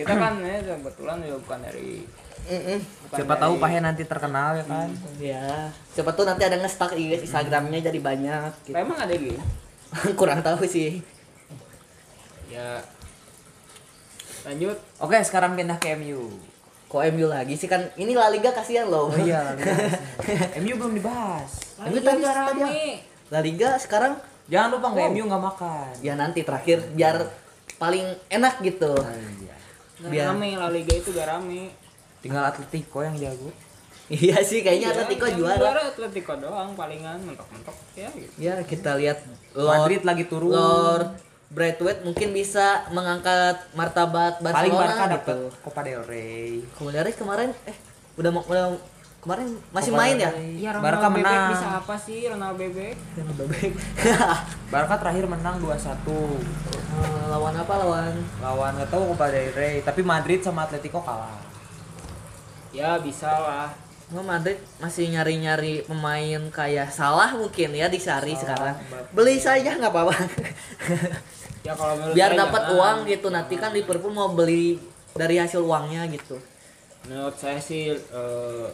[SPEAKER 1] kita kan ya kebetulan ya bukan dari
[SPEAKER 2] Mm-mm.
[SPEAKER 1] bukan
[SPEAKER 3] Siapa
[SPEAKER 1] dari-
[SPEAKER 3] tahu Pahe nanti terkenal ya kan.
[SPEAKER 2] Ya, siapa tuh nanti ada nge-stuck IG Instagramnya jadi banyak gitu.
[SPEAKER 1] Emang ada gitu.
[SPEAKER 2] Kurang tahu sih.
[SPEAKER 1] Ya. Lanjut.
[SPEAKER 3] Oke, sekarang pindah ke MU.
[SPEAKER 2] Kok MU lagi sih kan ini La Liga kasihan loh.
[SPEAKER 3] Oh iya, La Liga. MU belum dibahas.
[SPEAKER 2] Tapi tadi-
[SPEAKER 1] Iya,
[SPEAKER 2] tadi- La Liga sekarang
[SPEAKER 3] Jangan lupa nggak MU nggak makan.
[SPEAKER 2] ya nanti terakhir biar paling enak gitu.
[SPEAKER 1] Gak
[SPEAKER 2] Biar-
[SPEAKER 1] rame, La Liga itu gak rame.
[SPEAKER 3] Iya. Tinggal Atletico yang jago.
[SPEAKER 2] Iya sih kayaknya Atletico
[SPEAKER 1] yang
[SPEAKER 2] juara.
[SPEAKER 1] Atletico doang palingan mentok-mentok ya gitu.
[SPEAKER 2] Ya kita lihat Lord
[SPEAKER 3] Madrid lagi turun.
[SPEAKER 2] Lord Braithwaite mungkin bisa mengangkat martabat Barcelona
[SPEAKER 3] Paling Barca dapat
[SPEAKER 2] gitu.
[SPEAKER 3] Copa del Rey.
[SPEAKER 2] Kemudian kemarin eh udah mau udah- kemarin masih
[SPEAKER 3] Copa
[SPEAKER 2] main
[SPEAKER 3] del
[SPEAKER 2] ya?
[SPEAKER 3] Rey.
[SPEAKER 1] Iya
[SPEAKER 3] Barca
[SPEAKER 1] Ronaldo Bebek
[SPEAKER 3] menang.
[SPEAKER 1] bisa apa sih Ronaldo Bebek?
[SPEAKER 3] Barca terakhir menang 2-1
[SPEAKER 2] Eh, lawan apa lawan?
[SPEAKER 3] lawan nggak tahu Copa del Rey, tapi Madrid sama Atletico kalah.
[SPEAKER 1] Ya bisa lah.
[SPEAKER 2] Oh, Madrid masih nyari-nyari pemain kayak salah mungkin ya di Sari sekarang. Beli saja nggak apa-apa.
[SPEAKER 1] Ya kalau menurut
[SPEAKER 2] Biar
[SPEAKER 1] saya
[SPEAKER 2] dapat
[SPEAKER 1] jangan.
[SPEAKER 2] uang gitu. Nanti kan Liverpool mau beli dari hasil uangnya gitu.
[SPEAKER 1] Menurut saya sih eh,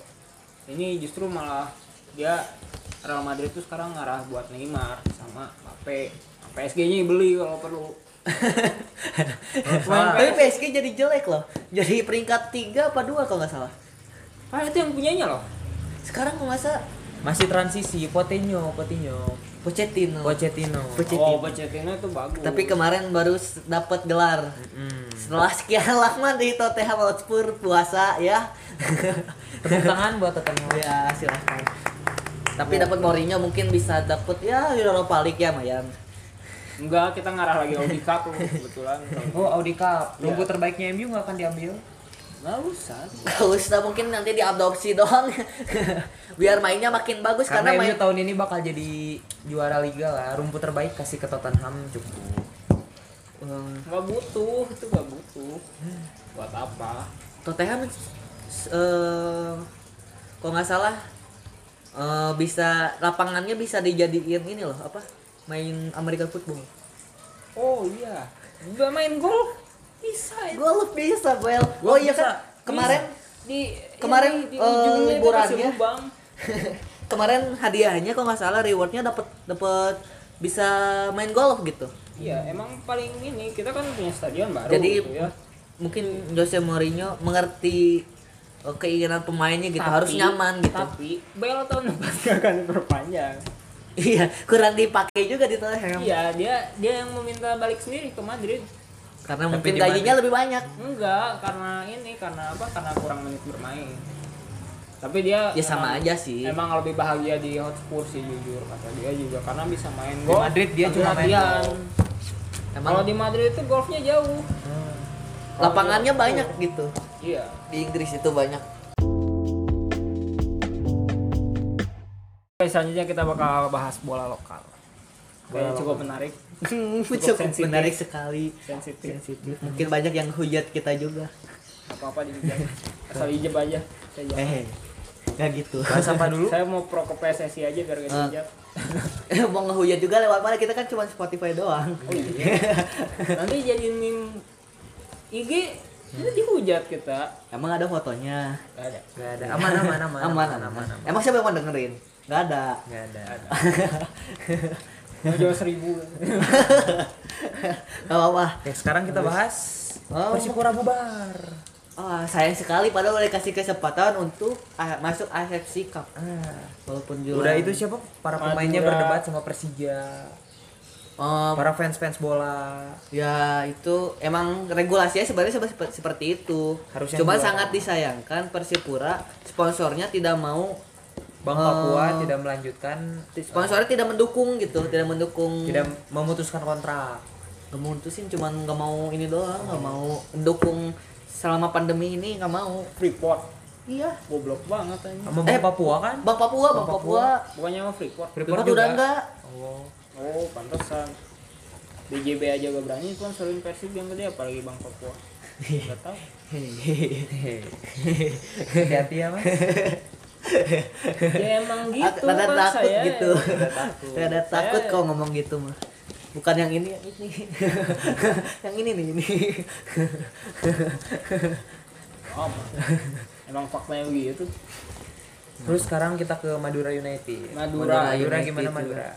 [SPEAKER 1] ini justru malah dia Real Madrid tuh sekarang ngarah buat Neymar sama Mbappe. PSG-nya beli kalau perlu. Pemain
[SPEAKER 2] Tapi
[SPEAKER 1] PS
[SPEAKER 2] PSG jadi jelek loh. Jadi peringkat 3 apa 2 kalau nggak salah.
[SPEAKER 1] Ah itu yang punyanya loh.
[SPEAKER 2] Sekarang kalau nggak salah
[SPEAKER 3] Masih transisi Coutinho, Coutinho,
[SPEAKER 2] Pochettino.
[SPEAKER 3] Pochettino.
[SPEAKER 2] Pochettino.
[SPEAKER 1] Oh, Pochettino itu bagus.
[SPEAKER 2] Tapi kemarin baru s- dapat gelar.
[SPEAKER 3] Hmm.
[SPEAKER 2] Setelah sekian lama di Tottenham Hotspur puasa ya.
[SPEAKER 3] Tepuk tangan buat Tottenham.
[SPEAKER 2] ya silahkan. Tapi dapat Mourinho mungkin bisa dapat ya Europa League ya Mayan.
[SPEAKER 1] enggak kita ngarah lagi Audi Cup loh kebetulan.
[SPEAKER 3] Oh, Audi Cup.
[SPEAKER 2] Iya.
[SPEAKER 3] Tunggu terbaiknya MU nggak akan diambil.
[SPEAKER 1] Enggak usah.
[SPEAKER 2] Gak usah mungkin nanti diadopsi doang. Biar mainnya makin bagus
[SPEAKER 3] Karena,
[SPEAKER 2] karena,
[SPEAKER 3] MU
[SPEAKER 2] main
[SPEAKER 3] tahun ini bakal jadi juara liga lah. Rumput terbaik kasih ke Tottenham cukup.
[SPEAKER 2] Hmm,
[SPEAKER 1] Enggak butuh, itu enggak butuh. Buat apa?
[SPEAKER 2] Tottenham s- eh kalau nggak salah eh, bisa lapangannya bisa dijadiin ini loh apa main American football.
[SPEAKER 1] Oh iya, udah main gol bisa itu.
[SPEAKER 2] Golf Eh, bisa, Bel. oh iya
[SPEAKER 1] bisa.
[SPEAKER 2] kan kemarin
[SPEAKER 1] Di
[SPEAKER 2] Kemarin,
[SPEAKER 1] ini, di
[SPEAKER 2] eh,
[SPEAKER 1] ujungnya dia
[SPEAKER 2] liburannya.
[SPEAKER 1] kasih lubang.
[SPEAKER 2] kemarin hadiahnya kalau nggak salah rewardnya dapat dapat bisa main golf gitu.
[SPEAKER 1] Iya, emang paling ini kita kan punya stadion baru
[SPEAKER 2] Jadi
[SPEAKER 1] gitu ya.
[SPEAKER 2] mungkin Jose Mourinho mengerti eh, keinginan pemainnya gitu harus
[SPEAKER 1] Tapi-
[SPEAKER 2] nyaman gitu.
[SPEAKER 1] Tapi Bel tahun depan gak akan diperpanjang.
[SPEAKER 2] Iya, kurang dipakai juga di Tottenham.
[SPEAKER 1] Iya, dia dia yang meminta balik sendiri ke Madrid.
[SPEAKER 2] Karena
[SPEAKER 3] Tapi
[SPEAKER 2] mungkin
[SPEAKER 3] di
[SPEAKER 2] gajinya
[SPEAKER 3] Madrid-
[SPEAKER 2] lebih banyak.
[SPEAKER 1] Enggak, karena ini karena apa? Karena kurang menit bermain. Tapi dia
[SPEAKER 2] Ya sama
[SPEAKER 1] emang-
[SPEAKER 2] aja sih.
[SPEAKER 1] Emang lebih bahagia di Hotspur sih jujur kata dia juga karena bisa main
[SPEAKER 3] Di
[SPEAKER 1] gol.
[SPEAKER 3] Madrid dia
[SPEAKER 1] sambil
[SPEAKER 3] cuma main
[SPEAKER 1] latihan.
[SPEAKER 3] gol.
[SPEAKER 2] Emang
[SPEAKER 1] Kalau di Madrid itu golfnya jauh.
[SPEAKER 2] Hmm. lapangannya banyak gitu.
[SPEAKER 1] Iya.
[SPEAKER 2] Di Inggris itu banyak.
[SPEAKER 1] Oke, selanjutnya kita bakal bahas bola lokal. Kayaknya cukup menarik,
[SPEAKER 2] Cukup
[SPEAKER 1] sensitif.
[SPEAKER 2] menarik sekali.
[SPEAKER 1] sensitif.
[SPEAKER 2] Sensitif. Mungkin banyak yang hujat kita juga.
[SPEAKER 1] Apa-apa dihujat. Asal hijab aja. Saya, jangan.
[SPEAKER 2] Eh, nggak gitu.
[SPEAKER 3] Bahas apa dulu?
[SPEAKER 1] Saya mau pro ke PSSI aja biar gak
[SPEAKER 2] Eh.
[SPEAKER 1] dihujat.
[SPEAKER 2] mau ngehujat juga lewat mana kita kan cuma Spotify doang
[SPEAKER 1] Oh iya. Nanti jadi meme IG itu dihujat kita.
[SPEAKER 2] emang ada fotonya
[SPEAKER 1] Gak ada.
[SPEAKER 3] Gak ada. Aman aman aman.
[SPEAKER 2] aman aman, emang siapa yang mau dengerin nggak ada
[SPEAKER 3] Gak ada.
[SPEAKER 1] Mau jauh seribu.
[SPEAKER 2] nggak apa, -apa.
[SPEAKER 3] Oke, sekarang kita bahas
[SPEAKER 2] Oh.
[SPEAKER 3] Persipura bubar.
[SPEAKER 2] Oh, sayang sekali padahal udah kasih kesempatan untuk ah, masuk AFC Cup
[SPEAKER 3] Ah.
[SPEAKER 2] walaupun juga
[SPEAKER 3] Udah itu siapa? Para
[SPEAKER 1] Madura.
[SPEAKER 3] pemainnya berdebat sama Persija.
[SPEAKER 2] Om,
[SPEAKER 3] Para fans-fans bola.
[SPEAKER 2] ya itu emang regulasinya sebenarnya sep- sep- seperti itu
[SPEAKER 3] Harusnya
[SPEAKER 2] cuma
[SPEAKER 3] dua.
[SPEAKER 2] sangat disayangkan Persipura sponsornya tidak mau
[SPEAKER 3] Bang
[SPEAKER 2] eh,
[SPEAKER 3] Papua tidak melanjutkan
[SPEAKER 2] sponsornya tidak mendukung gitu tidak mendukung
[SPEAKER 3] tidak memutuskan kontrak.
[SPEAKER 2] gak mau mutusin cuman gak mau ini doang gak mau dukung selama pandemi ini gak mau
[SPEAKER 1] Freeport
[SPEAKER 2] iya
[SPEAKER 1] goblok banget aja
[SPEAKER 3] Sama Bang
[SPEAKER 2] Eh,
[SPEAKER 3] Papua kan?
[SPEAKER 2] Bang Papua Bang, Papua,
[SPEAKER 1] bukannya sama Freeport
[SPEAKER 2] Freeport
[SPEAKER 3] juga.
[SPEAKER 2] udah enggak
[SPEAKER 3] Oh.
[SPEAKER 1] oh pantesan DJB aja gak berani sponsorin Persib yang gede apalagi Bang Papua nggak tahu
[SPEAKER 3] Hati-hati ya, Mas.
[SPEAKER 1] ya emang gitu
[SPEAKER 2] rada
[SPEAKER 1] Bang,
[SPEAKER 2] takut
[SPEAKER 1] saya
[SPEAKER 2] gitu
[SPEAKER 1] Rada takut.
[SPEAKER 2] rada
[SPEAKER 1] Saya-
[SPEAKER 2] takut kalau ngomong gitu mah bukan yang ini yang ini yang ini nih ini
[SPEAKER 1] Oh, emang. emang faktanya begitu
[SPEAKER 3] Terus sekarang kita ke Madura United.
[SPEAKER 1] Madura.
[SPEAKER 3] Madura
[SPEAKER 2] United
[SPEAKER 3] gimana
[SPEAKER 2] juga.
[SPEAKER 3] Madura?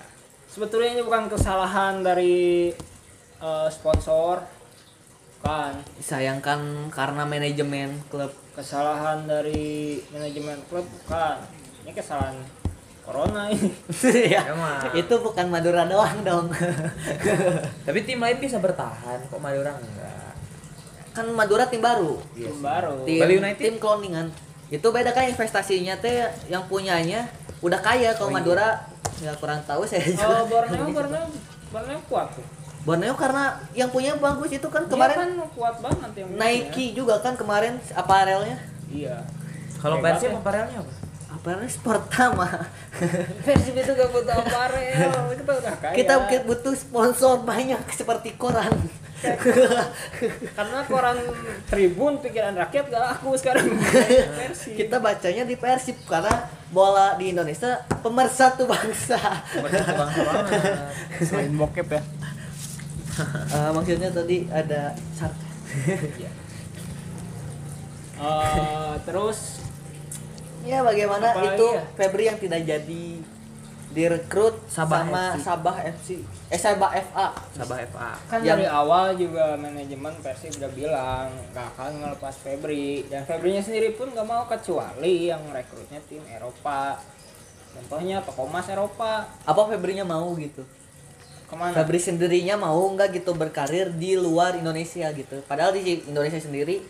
[SPEAKER 1] sebetulnya ini bukan kesalahan dari eh, sponsor kan
[SPEAKER 2] disayangkan karena manajemen klub
[SPEAKER 1] kesalahan dari manajemen klub bukan ini kesalahan corona ini
[SPEAKER 2] ya,
[SPEAKER 3] Emang.
[SPEAKER 2] itu bukan Madura doang dong
[SPEAKER 3] Tapi tim lain bisa bertahan kok Madura enggak.
[SPEAKER 2] kan Madura tim baru
[SPEAKER 1] Tim baru
[SPEAKER 2] tim
[SPEAKER 3] Bali United?
[SPEAKER 2] tim kloningan itu beda kan investasinya teh yang punyanya udah kaya kalau Madura nggak kurang tahu saya
[SPEAKER 1] oh
[SPEAKER 2] juga.
[SPEAKER 1] Borneo Borneo Borneo kuat tuh
[SPEAKER 2] Borneo karena yang punya bagus itu kan
[SPEAKER 1] kemarin
[SPEAKER 2] kemarin
[SPEAKER 1] kan kuat banget yang
[SPEAKER 2] Nike juga kan kemarin aparelnya
[SPEAKER 1] punya. iya
[SPEAKER 3] Kalau
[SPEAKER 1] Hebat
[SPEAKER 3] Persib
[SPEAKER 1] ya.
[SPEAKER 3] apa realnya apa?
[SPEAKER 2] aparelnya Sportama
[SPEAKER 1] Persib itu gak butuh aparel kita kan udah kaya
[SPEAKER 2] kita mungkin butuh sponsor banyak seperti koran
[SPEAKER 1] karena koran Tribun pikiran rakyat gak laku sekarang Persib
[SPEAKER 2] kita bacanya di Persib karena bola di Indonesia pemersatu bangsa
[SPEAKER 3] Persib bangsa banget.
[SPEAKER 1] main bokep ya
[SPEAKER 2] Eh, maksudnya tadi ada sarkas
[SPEAKER 1] Eh, terus
[SPEAKER 2] Ya bagaimana
[SPEAKER 1] Apalagi
[SPEAKER 2] itu
[SPEAKER 1] ya?
[SPEAKER 2] Febri yang tidak jadi direkrut
[SPEAKER 3] Sabah
[SPEAKER 2] sama
[SPEAKER 3] FC.
[SPEAKER 2] Sabah FC. Eh Sabah FA.
[SPEAKER 3] Sabah FA.
[SPEAKER 1] kan
[SPEAKER 2] Yang-
[SPEAKER 1] dari awal juga manajemen Persib udah bilang gak akan ngelepas Febri dan Febrinya sendiri pun gak mau kecuali yang rekrutnya tim Eropa contohnya Tokomas Eropa
[SPEAKER 2] Apa Febrinya mau gitu?
[SPEAKER 1] kemana
[SPEAKER 2] Febri sendirinya mau nggak gitu berkarir di luar Indonesia gitu. Padahal di Indonesia sendiri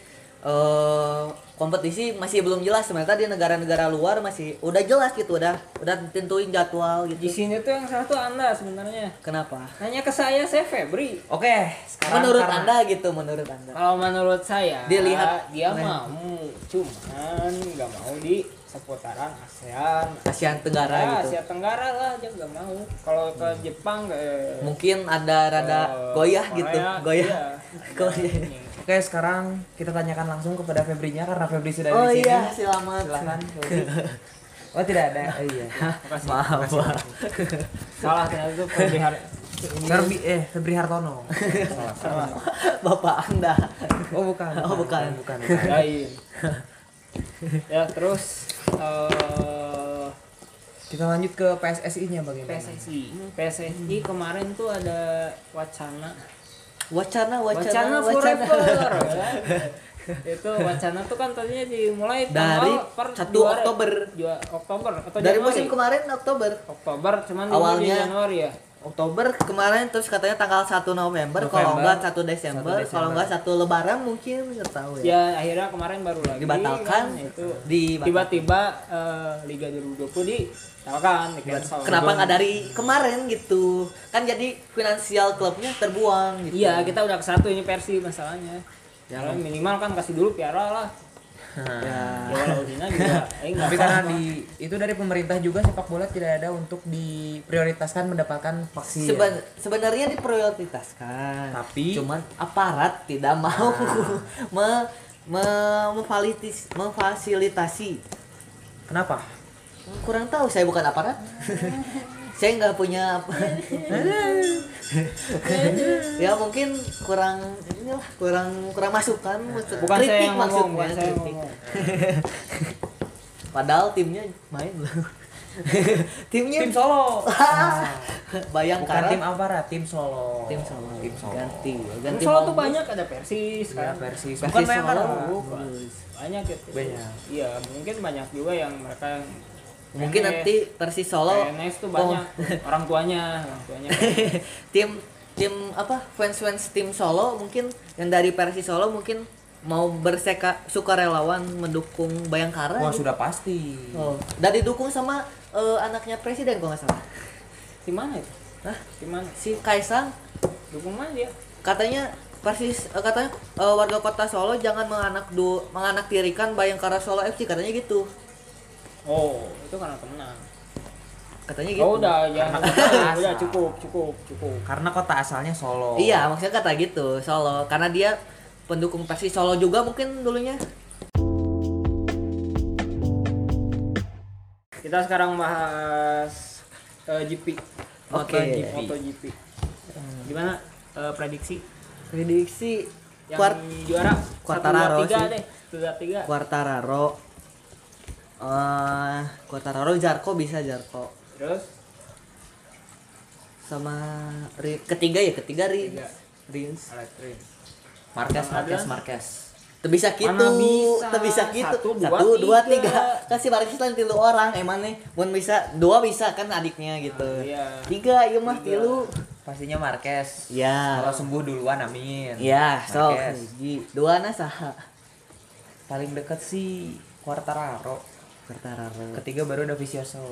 [SPEAKER 2] eh kompetisi masih belum jelas sementara di negara-negara luar masih udah jelas gitu udah udah tentuin jadwal
[SPEAKER 1] di
[SPEAKER 2] gitu.
[SPEAKER 1] sini tuh yang salah tuh anda sebenarnya
[SPEAKER 2] Kenapa?
[SPEAKER 1] nanya ke saya saya Febri
[SPEAKER 3] Oke, sekarang
[SPEAKER 2] Menurut
[SPEAKER 3] karena-
[SPEAKER 2] Anda gitu menurut Anda.
[SPEAKER 1] kalau menurut saya
[SPEAKER 2] Dia lihat-
[SPEAKER 1] dia
[SPEAKER 2] main.
[SPEAKER 1] mau cuman nggak mau di seputaran ASEAN
[SPEAKER 2] Asia Tenggara
[SPEAKER 1] ya,
[SPEAKER 2] gitu. Hmm.
[SPEAKER 1] Asia Tenggara lah dia nggak mau kalau ke Jepang ke
[SPEAKER 2] Mungkin ada rada
[SPEAKER 1] ke
[SPEAKER 2] goyah
[SPEAKER 1] Korea,
[SPEAKER 2] gitu, goyah.
[SPEAKER 1] Eh, iya.
[SPEAKER 2] Goyah.
[SPEAKER 3] Oke, sekarang kita tanyakan langsung kepada Febrinya karena Febri sudah
[SPEAKER 2] Oh
[SPEAKER 3] di sini.
[SPEAKER 2] iya, selamat.
[SPEAKER 3] Silakan. Febri. Oh, tidak ada. Oh, iya.
[SPEAKER 2] Maaf. Pak.
[SPEAKER 1] salah ternyata tuh Febri Har-
[SPEAKER 3] Ferbi eh Febri Hartono. Salah, salah.
[SPEAKER 2] Bapak Anda.
[SPEAKER 3] Oh, bukan.
[SPEAKER 2] Oh, bukan.
[SPEAKER 3] Bukan. bukan.
[SPEAKER 1] lain ya terus eh
[SPEAKER 3] Kita lanjut ke PSSI-nya bagaimana?
[SPEAKER 1] PSSI PSSI kemarin tuh ada wacana wacana
[SPEAKER 2] Wacana, wacana, wacana.
[SPEAKER 1] forever ya. itu wacana tuh kan tadinya dimulai
[SPEAKER 2] Dari
[SPEAKER 1] tanggal Oh, per
[SPEAKER 2] 1
[SPEAKER 1] juara-
[SPEAKER 2] Oktober.
[SPEAKER 1] jua- Oktober atau Januari?
[SPEAKER 2] Dari musim kemarin Oktober.
[SPEAKER 1] Oktober cuman awalnya
[SPEAKER 2] Awalnya-
[SPEAKER 1] Januari ya
[SPEAKER 2] Oktober kemarin terus katanya tanggal 1 November, kalau
[SPEAKER 3] November,
[SPEAKER 2] enggak 1 Desember,
[SPEAKER 3] 1 Desember.
[SPEAKER 2] kalau enggak 1 Lebaran mungkin nggak tahu ya.
[SPEAKER 1] ya akhirnya kemarin baru lagi
[SPEAKER 2] Dibatalkan
[SPEAKER 1] kan, itu
[SPEAKER 2] Dibatalkan.
[SPEAKER 1] tiba-tiba eh, Liga 2020 dibatalkan di cancel
[SPEAKER 2] Kenapa nggak dari kemarin gitu? Kan jadi finansial klubnya terbuang gitu.
[SPEAKER 1] iya kita udah ke satu ini versi masalahnya ya lah, minimal kan kasih dulu piara lah
[SPEAKER 2] Ya.
[SPEAKER 1] ya walau Cina juga eh nggak
[SPEAKER 3] Tapi karena di itu dari pemerintah juga sepak bola tidak ada untuk diprioritaskan mendapatkan vaksin.
[SPEAKER 2] Seben- sebenarnya diprioritaskan.
[SPEAKER 3] Tapi-
[SPEAKER 2] cuman aparat tidak mau
[SPEAKER 1] Ah.
[SPEAKER 2] me- me- memvalitis- memfasilitasi.
[SPEAKER 3] Kenapa?
[SPEAKER 2] Kurang tahu saya bukan aparat. saya nggak punya apa. ya mungkin kurang inilah kurang kurang masukan maksud-
[SPEAKER 1] bukan saya
[SPEAKER 2] kritik
[SPEAKER 1] yang ngomong
[SPEAKER 2] maksudnya
[SPEAKER 1] bukan saya yang
[SPEAKER 2] kritik.
[SPEAKER 1] ngomong
[SPEAKER 2] padahal timnya main loh timnya
[SPEAKER 3] Tim Solo. Bukan
[SPEAKER 2] bayangkara
[SPEAKER 3] tim aparat, tim Solo.
[SPEAKER 2] tim Solo
[SPEAKER 3] Tim Solo.
[SPEAKER 2] ganti ya,
[SPEAKER 1] Yang
[SPEAKER 2] ganti
[SPEAKER 1] Solo tuh
[SPEAKER 2] Maulid.
[SPEAKER 1] banyak ada Persis
[SPEAKER 3] Ya,
[SPEAKER 1] kan.
[SPEAKER 3] Persis.
[SPEAKER 2] Iya, Persis
[SPEAKER 3] Bukan Bayangkara.
[SPEAKER 2] Solo. Iya.
[SPEAKER 1] Bukan. Banyak gitu.
[SPEAKER 3] Banyak.
[SPEAKER 1] Iya, mungkin banyak juga yang mereka yang
[SPEAKER 2] mungkin
[SPEAKER 1] PNS.
[SPEAKER 2] nanti Persis Solo Oh.
[SPEAKER 1] PNS tuh banyak orang tuanya, orang tuanya.
[SPEAKER 2] tim tim apa fans fans tim Solo mungkin yang dari Persis Solo mungkin mau berseka sukarelawan mendukung Bayangkara
[SPEAKER 3] Wah,
[SPEAKER 2] gitu.
[SPEAKER 3] sudah pasti.
[SPEAKER 2] Oh, dan didukung sama eh, anaknya presiden kalau nggak salah
[SPEAKER 1] Di mana itu? Hah? Di mana?
[SPEAKER 2] si Kaisang
[SPEAKER 1] Dukung mana dia?
[SPEAKER 2] katanya persis eh, katanya eh, warga kota Solo jangan menganak du, menganaktirikan Bayangkara Solo FC katanya gitu.
[SPEAKER 1] Oh, itu karena pemenang.
[SPEAKER 2] Katanya gitu.
[SPEAKER 1] Oh, udah ya.
[SPEAKER 3] Karena-
[SPEAKER 1] udah cukup, cukup, cukup.
[SPEAKER 3] Karena kota asalnya Solo.
[SPEAKER 2] Iya, maksudnya kata gitu, Solo. Karena dia pendukung Persis Solo juga mungkin dulunya.
[SPEAKER 1] Kita sekarang bahas eh, GP.
[SPEAKER 2] Oke.
[SPEAKER 1] MotoGP. MotoGP. Gimana eh, prediksi
[SPEAKER 2] Prediksi
[SPEAKER 1] yang
[SPEAKER 2] Quart
[SPEAKER 1] juara?
[SPEAKER 2] Quartararo
[SPEAKER 1] 1, 2, 3
[SPEAKER 2] sih.
[SPEAKER 1] deh. 1 2 tiga.
[SPEAKER 2] Quartararo eh Quartararo Jarko bisa Jarko
[SPEAKER 1] Terus
[SPEAKER 2] sama Ri- ketiga ya ketiga Rins
[SPEAKER 1] Ketiga.
[SPEAKER 2] Rins
[SPEAKER 1] elektrik.
[SPEAKER 3] Marquez,
[SPEAKER 1] Sama
[SPEAKER 3] Marquez,
[SPEAKER 1] ada.
[SPEAKER 3] Marquez.
[SPEAKER 2] Tuh bisa gitu,
[SPEAKER 1] Mana bisa?
[SPEAKER 2] tuh bisa gitu.
[SPEAKER 1] Satu,
[SPEAKER 2] Satu,
[SPEAKER 1] dua,
[SPEAKER 2] dua,
[SPEAKER 1] tiga.
[SPEAKER 2] tiga. Kasih baris lain tilu orang, emangnya. Mun bisa, dua bisa kan adiknya gitu.
[SPEAKER 1] Ah, iya.
[SPEAKER 2] Tiga, iya mah
[SPEAKER 1] Tiga.
[SPEAKER 2] tilu.
[SPEAKER 3] Pastinya Marquez.
[SPEAKER 2] Ya,
[SPEAKER 3] Kalau sembuh duluan amin.
[SPEAKER 2] ya, sok
[SPEAKER 3] Marquez.
[SPEAKER 2] hiji. Dua na saha?
[SPEAKER 3] Paling deket sih Quartararo.
[SPEAKER 2] Quartararo.
[SPEAKER 3] Ketiga baru ada Vicioso.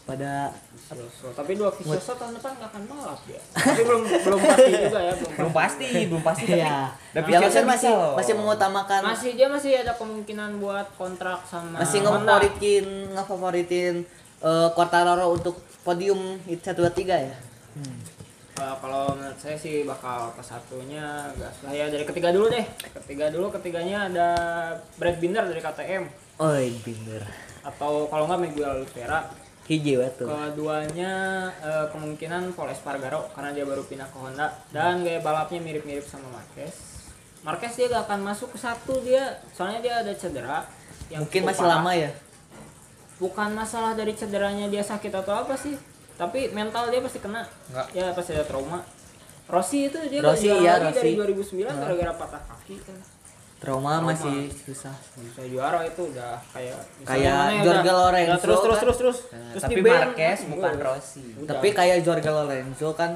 [SPEAKER 2] Pada
[SPEAKER 1] Terus, tapi dua Vicioso tahun depan nggak akan balap ya. Tapi belum belum pasti juga ya,
[SPEAKER 3] Belum pasti, belum pasti tapi.
[SPEAKER 2] ya.
[SPEAKER 3] tapi
[SPEAKER 2] Ya,
[SPEAKER 3] Vicioso
[SPEAKER 2] maksudnya
[SPEAKER 3] bisa
[SPEAKER 2] masih
[SPEAKER 3] loh.
[SPEAKER 2] masih mengutamakan
[SPEAKER 1] Masih dia masih ada kemungkinan buat kontrak sama
[SPEAKER 2] masih
[SPEAKER 1] Honda.
[SPEAKER 2] ngefavoritin ngefavoritin eh, Quartararo untuk podium hit 1 2 3 ya.
[SPEAKER 1] Kalau- Eh, kalau menurut saya sih bakal ke satunya gas lah ya dari ketiga dulu deh. Ketiga dulu ketiganya ada Brad Binder dari KTM
[SPEAKER 2] Oi, bener.
[SPEAKER 1] atau kalau nggak Miguel Oliveira.
[SPEAKER 2] Hiji batu.
[SPEAKER 1] Keduanya eh, kemungkinan Paul Espargaro karena dia baru pindah ke Honda dan gaya balapnya mirip-mirip sama Marquez. Marquez dia gak akan masuk ke satu dia soalnya dia ada cedera yang
[SPEAKER 2] Mungkin
[SPEAKER 1] cukup
[SPEAKER 2] masih
[SPEAKER 1] parah.
[SPEAKER 2] lama ya.
[SPEAKER 1] bukan masalah dari cederanya dia sakit atau apa sih tapi mental dia pasti kena
[SPEAKER 3] Nggak.
[SPEAKER 1] ya pasti ada trauma Rossi itu dia
[SPEAKER 2] Rossi,
[SPEAKER 1] nggak juara
[SPEAKER 2] iya,
[SPEAKER 1] lagi dari
[SPEAKER 2] Rossi.
[SPEAKER 1] 2009 gara-gara patah kaki kan
[SPEAKER 2] Trauma, masih susah.
[SPEAKER 1] Nggak bisa juara itu udah kayak misalnya
[SPEAKER 2] Kayak
[SPEAKER 1] mana ya,
[SPEAKER 2] Jorge
[SPEAKER 1] udah-
[SPEAKER 2] Lorenzo
[SPEAKER 1] udah terus terus
[SPEAKER 2] kan?
[SPEAKER 1] terus terus
[SPEAKER 3] Nah,
[SPEAKER 1] terus
[SPEAKER 3] tapi
[SPEAKER 1] di-ban,
[SPEAKER 3] Marquez
[SPEAKER 1] kan?
[SPEAKER 3] bukan
[SPEAKER 1] Udah.
[SPEAKER 3] Rossi.
[SPEAKER 1] Udah.
[SPEAKER 2] Tapi kayak Jorge Lorenzo kan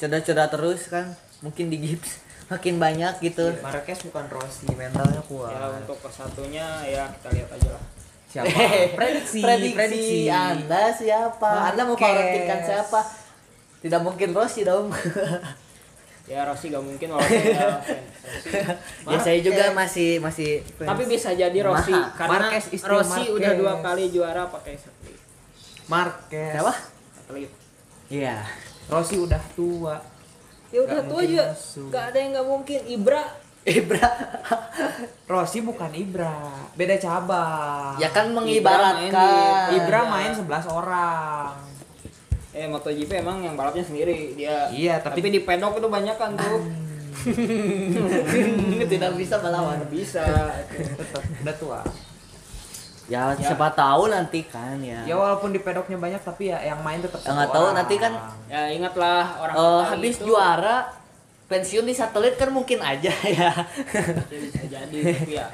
[SPEAKER 2] cedera-cedera terus kan, mungkin di gips makin banyak gitu.
[SPEAKER 1] Iya,
[SPEAKER 3] Marquez bukan Rossi, mentalnya kuat.
[SPEAKER 1] ya untuk kesatunya ya kita lihat aja lah
[SPEAKER 3] Siapa? prediksi,
[SPEAKER 2] prediksi, Anda siapa? Anda mau
[SPEAKER 3] Marquez.
[SPEAKER 2] favoritikan siapa? Tidak mungkin Rossi dong.
[SPEAKER 1] ya Rossi gak mungkin walaupun dia fans Rossi.
[SPEAKER 2] ya saya juga masih masih fans.
[SPEAKER 1] tapi bisa jadi Rossi
[SPEAKER 2] Maha.
[SPEAKER 1] karena
[SPEAKER 3] Marquez is still
[SPEAKER 1] Rossi
[SPEAKER 3] Marquez.
[SPEAKER 1] udah dua kali juara pakai satelit
[SPEAKER 3] Marquez.
[SPEAKER 2] Siapa?
[SPEAKER 1] satelit
[SPEAKER 2] Iya.
[SPEAKER 3] Rossi udah tua.
[SPEAKER 1] ya udah
[SPEAKER 3] Nggak
[SPEAKER 1] tua
[SPEAKER 3] mungkin
[SPEAKER 1] aja
[SPEAKER 3] masuk.
[SPEAKER 1] gak ada yang gak mungkin Ibra
[SPEAKER 2] Ibra.
[SPEAKER 3] Rossi bukan Ibra, beda cabang.
[SPEAKER 2] ya kan mengibaratkan.
[SPEAKER 3] Ibra main 11 orang.
[SPEAKER 1] Eh MotoGP emang yang balapnya sendiri dia.
[SPEAKER 3] Iya,
[SPEAKER 1] tapi,
[SPEAKER 3] tapi-
[SPEAKER 1] di pedok itu banyak kan tuh.
[SPEAKER 2] tidak bisa melawan.
[SPEAKER 1] bisa. gitu.
[SPEAKER 3] Tetap udah tua.
[SPEAKER 2] Ya, siapa tahu nanti kan ya.
[SPEAKER 3] Ya walaupun di pedoknya banyak tapi ya yang main tetap
[SPEAKER 2] Ya,
[SPEAKER 3] satu
[SPEAKER 2] nggak tahu,
[SPEAKER 3] orang.
[SPEAKER 2] nanti kan
[SPEAKER 1] ya ingatlah orang
[SPEAKER 3] Oh,
[SPEAKER 2] Eh,
[SPEAKER 1] Itali
[SPEAKER 2] habis
[SPEAKER 1] itu,
[SPEAKER 2] juara pensiun di satelit kan mungkin aja
[SPEAKER 1] ya
[SPEAKER 2] ya.
[SPEAKER 1] bisa jadi tapi ya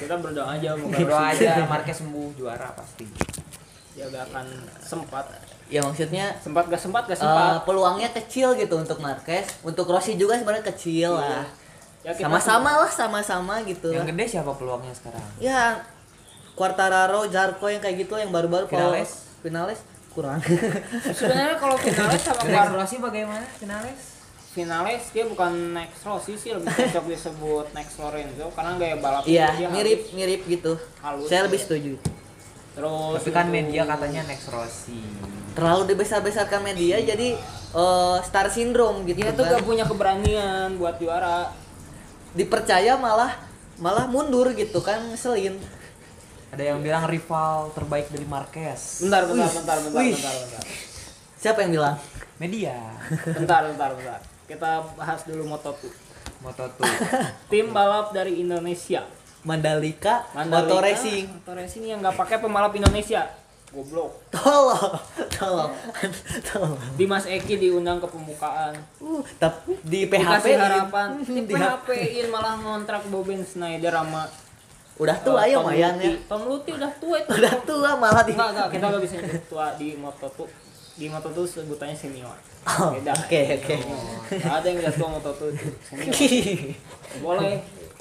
[SPEAKER 1] kita berdoa aja moga
[SPEAKER 3] berdoa
[SPEAKER 1] Rossi
[SPEAKER 3] aja Marquez sembuh juara pasti.
[SPEAKER 1] dia gak Ya, akan sempat.
[SPEAKER 2] ya maksudnya
[SPEAKER 1] Sempat gak sempat gak
[SPEAKER 2] eh,
[SPEAKER 1] sempat.
[SPEAKER 2] peluangnya kecil gitu untuk Marquez, untuk Rossi juga sebenarnya kecil lah.
[SPEAKER 1] Ya, kita
[SPEAKER 2] Iya. Sama-sama lah, sama-sama gitu.
[SPEAKER 3] Yang gede siapa peluangnya sekarang?
[SPEAKER 2] Ya Quartararo, Jarko yang kayak gitu yang baru-baru Paul-
[SPEAKER 3] Vinales.
[SPEAKER 2] Vinales kurang.
[SPEAKER 1] semua- Sebenarnya kalau finalis sama
[SPEAKER 3] Next
[SPEAKER 1] Quartararo
[SPEAKER 3] Rossi bagaimana finalis?
[SPEAKER 1] finalis dia bukan next Rossi sih lebih cocok disebut next Lorenzo karena gaya balapnya dia
[SPEAKER 2] Iya,
[SPEAKER 1] halus.
[SPEAKER 2] mirip-mirip gitu.
[SPEAKER 1] Halus
[SPEAKER 2] Saya
[SPEAKER 1] ya.
[SPEAKER 2] lebih setuju.
[SPEAKER 1] Terus gitu.
[SPEAKER 3] Tapi kan
[SPEAKER 1] untuk-
[SPEAKER 3] media katanya next Rossi.
[SPEAKER 2] Terlalu dibesar-besarkan media jadi eh, star syndrome gitu.
[SPEAKER 1] dia tuh
[SPEAKER 2] kan.
[SPEAKER 1] gak punya keberanian buat juara.
[SPEAKER 2] dipercaya malah malah mundur gitu kan ngeselin
[SPEAKER 3] Ada yang bilang rival terbaik dari Marquez.
[SPEAKER 1] Bentar, bentar, bentar, bentar,
[SPEAKER 2] wih.
[SPEAKER 1] bentar, bentar.
[SPEAKER 2] siapa yang bilang
[SPEAKER 3] Media.
[SPEAKER 1] Bentar, bentar, bentar. Kita bahas dulu Moto2.
[SPEAKER 3] Moto tuh.
[SPEAKER 1] Tim balap dari Indonesia.
[SPEAKER 2] Mandalika,
[SPEAKER 1] Mandalika,
[SPEAKER 2] motor racing
[SPEAKER 1] Motor racing yang nggak pakai pembalap Indonesia. Goblok.
[SPEAKER 2] tolong tolong tolong
[SPEAKER 1] Dimas Eki diundang ke pembukaan.
[SPEAKER 2] uh, tapi di PHP
[SPEAKER 1] Dikasih harapan. Di
[SPEAKER 2] Hmm, di
[SPEAKER 1] PHP in malah ngontrak Bobin Schneider sama
[SPEAKER 2] udah tua ya
[SPEAKER 1] Mayan
[SPEAKER 2] Mayan ya
[SPEAKER 1] Tom Luti udah tua itu.
[SPEAKER 2] udah tua malah di
[SPEAKER 1] Enggak, enggak, kita nggak bisa nyebut tua di Moto2. Di Moto2 sebutannya senior.
[SPEAKER 2] Oh,
[SPEAKER 1] Beda.
[SPEAKER 2] oke oke
[SPEAKER 1] Nggak ada yang udah tua Moto2. Senior. Boleh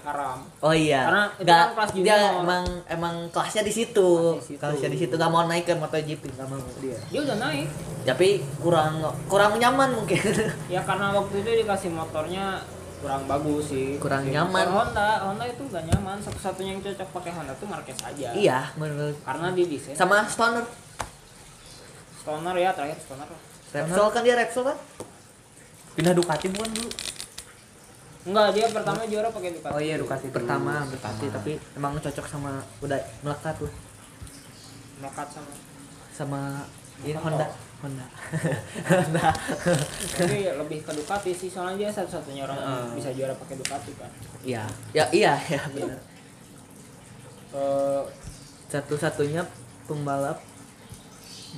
[SPEAKER 1] haram.
[SPEAKER 2] oh iya
[SPEAKER 1] Karena itu
[SPEAKER 2] Nggak,
[SPEAKER 1] kan kelas
[SPEAKER 2] dia
[SPEAKER 1] junior.
[SPEAKER 2] emang emang kelasnya di situ
[SPEAKER 1] Kelasnya di situ. Iya.
[SPEAKER 2] kelasnya di situ nggak mau naik ke MotoGP nggak mau dia
[SPEAKER 1] Dia udah naik.
[SPEAKER 2] tapi kurang kurang nyaman mungkin
[SPEAKER 1] Ya karena waktu itu dikasih motornya kurang bagus sih
[SPEAKER 2] Kurang
[SPEAKER 1] Sih.
[SPEAKER 2] nyaman.
[SPEAKER 1] Kalau Honda Honda itu gak nyaman satu-satunya yang cocok pakai Honda tuh Marquez aja
[SPEAKER 2] Iya, menurut
[SPEAKER 1] karena dia desain
[SPEAKER 2] sama Stoner.
[SPEAKER 1] stoner ya terakhir stoner
[SPEAKER 2] Repsol kan dia Repsol kan?
[SPEAKER 3] Pindah Ducati bukan dulu?
[SPEAKER 1] enggak dia pertama juara pakai Ducati
[SPEAKER 3] Oh iya Ducati dulu.
[SPEAKER 2] Pertama, berarti tapi emang cocok sama udah melekat tuh
[SPEAKER 1] melekat sama
[SPEAKER 2] sama ini
[SPEAKER 1] Bukan
[SPEAKER 2] Honda.
[SPEAKER 1] kok.
[SPEAKER 2] Iya, Honda. Honda.
[SPEAKER 1] tapi lebih ke Ducati sih soalnya dia satu-satunya orang yang
[SPEAKER 2] Ah.
[SPEAKER 1] bisa juara pakai Ducati kan
[SPEAKER 2] Iya. Ya iya, ya benar.
[SPEAKER 1] Eh,
[SPEAKER 2] Satu-satunya pembalap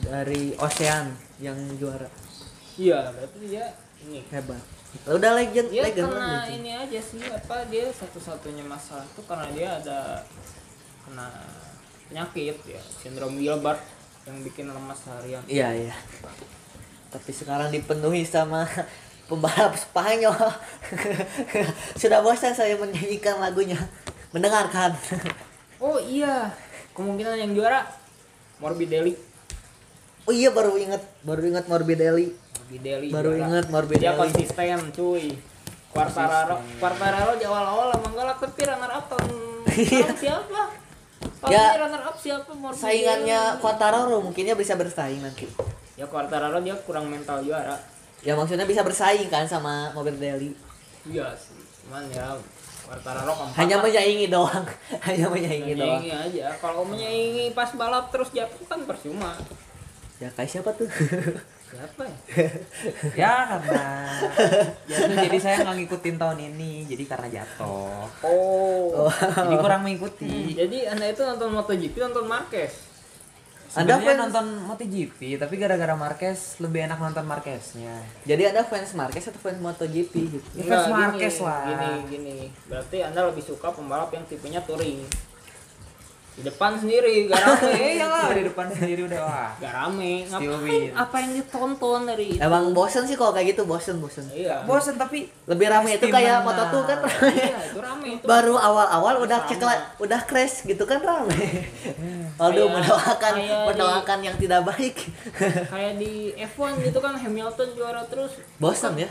[SPEAKER 2] dari Ocean yang juara
[SPEAKER 1] iya berarti dia ini
[SPEAKER 2] hebat. Udah legend,
[SPEAKER 1] dia
[SPEAKER 2] legend, gitu.
[SPEAKER 1] karena
[SPEAKER 2] legend.
[SPEAKER 1] ini aja sih apa dia satu-satunya masalah tuh karena dia ada kena penyakit ya sindrom Gilbert yang bikin lemas harian
[SPEAKER 2] Iya iya. Tapi sekarang dipenuhi sama pembalap Spanyol. Sudah bosan saya menyanyikan lagunya, mendengarkan.
[SPEAKER 1] oh iya kemungkinan yang juara Morbidelli
[SPEAKER 2] Oh iya baru ingat, baru ingat Morbidelli.
[SPEAKER 1] Morbidelli
[SPEAKER 2] Baru
[SPEAKER 1] juara.
[SPEAKER 2] ingat Morbidelli.
[SPEAKER 1] dia konsisten cuy Quartararo Quartararo di awal-awal emang galak tapi runner up tahun tahun siapa tahun
[SPEAKER 2] Iya. Ya.
[SPEAKER 1] ini runner up siapa Morbidelli
[SPEAKER 2] Saingannya Quartararo mungkinnya bisa bersaing nanti.
[SPEAKER 1] ya Quartararo dia kurang mental juara
[SPEAKER 2] Ya maksudnya bisa bersaing kan sama Morbidelli.
[SPEAKER 1] iya sih cuman ya Quartararo keempat
[SPEAKER 2] Hanya
[SPEAKER 1] lah.
[SPEAKER 2] menyaingi doang, hanya
[SPEAKER 3] gitu
[SPEAKER 2] menyaingi doang.
[SPEAKER 1] menyaingi aja
[SPEAKER 3] Oh.
[SPEAKER 1] kalau menyaingi pas balap terus jatuh kan percuma
[SPEAKER 2] Ya kayak siapa tuh?
[SPEAKER 1] siapa ya
[SPEAKER 3] Ya karena jatuh jadi saya nggak ngikutin tahun ini jadi karena jatuh.
[SPEAKER 1] oh, Hmm,
[SPEAKER 3] Jadi kurang mengikuti.
[SPEAKER 1] jadi anda itu nonton MotoGP nonton Marquez
[SPEAKER 2] Anda
[SPEAKER 3] Sebenarnya
[SPEAKER 2] fans-
[SPEAKER 3] nonton MotoGP tapi gara-gara Marquez lebih enak nonton Marqueznya.
[SPEAKER 2] Jadi Anda fans Marquez atau fans MotoGP gitu?
[SPEAKER 3] Ya,
[SPEAKER 1] Enggak,
[SPEAKER 3] fans
[SPEAKER 1] gini,
[SPEAKER 3] Marquez lah.
[SPEAKER 1] gini gini berarti anda lebih suka pembalap yang tipenya touring di depan sendiri gak rame ya lah
[SPEAKER 3] Dari depan sendiri udah wah.
[SPEAKER 1] gak rame
[SPEAKER 3] Iya. Still
[SPEAKER 1] ngapain
[SPEAKER 3] win.
[SPEAKER 1] apa yang ditonton dari itu
[SPEAKER 2] Emang bosen sih kalau kayak gitu, bosen bosen.
[SPEAKER 1] iya
[SPEAKER 3] Bosen tapi
[SPEAKER 2] Lebih ramai itu
[SPEAKER 3] Pasti
[SPEAKER 2] kayak
[SPEAKER 3] menang.
[SPEAKER 2] moto tuh kan
[SPEAKER 1] iya
[SPEAKER 2] ramai.
[SPEAKER 1] itu rame itu
[SPEAKER 2] Baru awal-awal
[SPEAKER 1] Sama.
[SPEAKER 2] udah
[SPEAKER 1] Hmm.
[SPEAKER 2] ceklat, udah crash gitu kan ramai. Aduh
[SPEAKER 1] Kayak-
[SPEAKER 2] mendoakan
[SPEAKER 1] kayak di-
[SPEAKER 2] mendoakan yang tidak baik.
[SPEAKER 1] kayak di F1 gitu kan Hamilton juara terus
[SPEAKER 2] Bosen ya.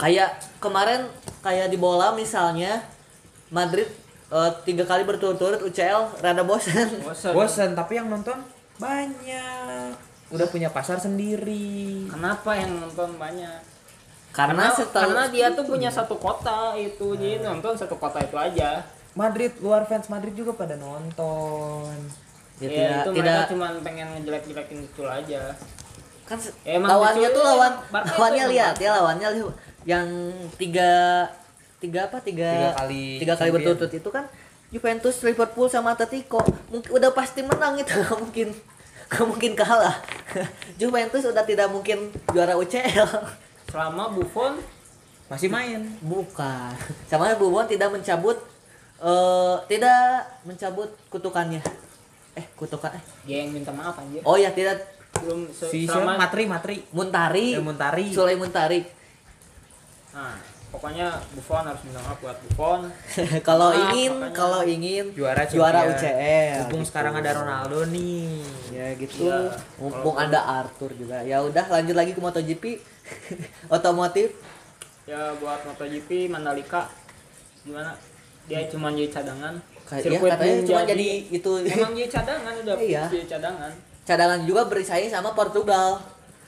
[SPEAKER 2] Kayak kemarin kayak di bola misalnya Madrid eh, tiga kali berturut-turut UCL rada bosen.
[SPEAKER 1] bosan
[SPEAKER 3] bosen tapi yang nonton banyak. Udah punya pasar sendiri.
[SPEAKER 1] kenapa yang nonton banyak karena,
[SPEAKER 2] Karena, setahu
[SPEAKER 1] karena dia tuh punya satu kota itu jadi
[SPEAKER 2] Nah.
[SPEAKER 1] nonton satu kota itu aja
[SPEAKER 3] Madrid luar fans Madrid juga pada nonton.
[SPEAKER 2] ya,
[SPEAKER 1] ya,
[SPEAKER 2] tidak
[SPEAKER 1] itu
[SPEAKER 2] tidak
[SPEAKER 1] mereka cuma pengen ngejelek-jelekin itu aja
[SPEAKER 2] kan se-
[SPEAKER 1] Ya, emang
[SPEAKER 2] lawannya
[SPEAKER 1] lucu
[SPEAKER 2] tuh
[SPEAKER 1] ya,
[SPEAKER 2] lawan
[SPEAKER 1] Barca itu
[SPEAKER 2] lawannya
[SPEAKER 1] emang
[SPEAKER 2] lihat ya lawannya li- yang tiga tiga apa
[SPEAKER 3] Tiga
[SPEAKER 2] tiga
[SPEAKER 3] kali
[SPEAKER 2] tiga kali
[SPEAKER 3] champion.
[SPEAKER 2] berturut-turut itu kan Juventus, Liverpool sama Atletico mungkin udah pasti menang itu nggak mungkin nggak mungkin kalah Juventus udah tidak mungkin juara UCL
[SPEAKER 1] selama Buffon
[SPEAKER 3] Masih main.
[SPEAKER 2] bukan sama Buffon tidak mencabut eh tidak mencabut kutukannya eh kutukan eh
[SPEAKER 1] dia yang minta maaf aja
[SPEAKER 2] oh ya tidak
[SPEAKER 1] belum se-
[SPEAKER 3] Si siapa?
[SPEAKER 1] selama
[SPEAKER 3] Matri Matri.
[SPEAKER 2] Muntari
[SPEAKER 3] Eh, Muntari.
[SPEAKER 2] Sulai Muntari
[SPEAKER 1] nah pokoknya Buffon harus minta maaf buat Buffon
[SPEAKER 2] kalau
[SPEAKER 1] Maaf,
[SPEAKER 2] ingin
[SPEAKER 1] makanya.
[SPEAKER 2] kalau ingin
[SPEAKER 3] Juara
[SPEAKER 2] juara
[SPEAKER 3] champion.
[SPEAKER 2] UCL
[SPEAKER 3] Mumpung
[SPEAKER 2] gitu.
[SPEAKER 3] sekarang ada Ronaldo nih.
[SPEAKER 2] ya gitu
[SPEAKER 1] Iya.
[SPEAKER 2] mumpung ada Arthur juga ya udah lanjut lagi ke MotoGP otomotif
[SPEAKER 1] ya buat MotoGP Mandalika gimana dia cuma jadi cadangan
[SPEAKER 2] kayak ya, katanya
[SPEAKER 1] belum
[SPEAKER 2] cuma jadi itu
[SPEAKER 1] emang jadi cadangan udah
[SPEAKER 2] Iya.
[SPEAKER 1] jadi cadangan
[SPEAKER 2] cadangan juga bersaing sama Portugal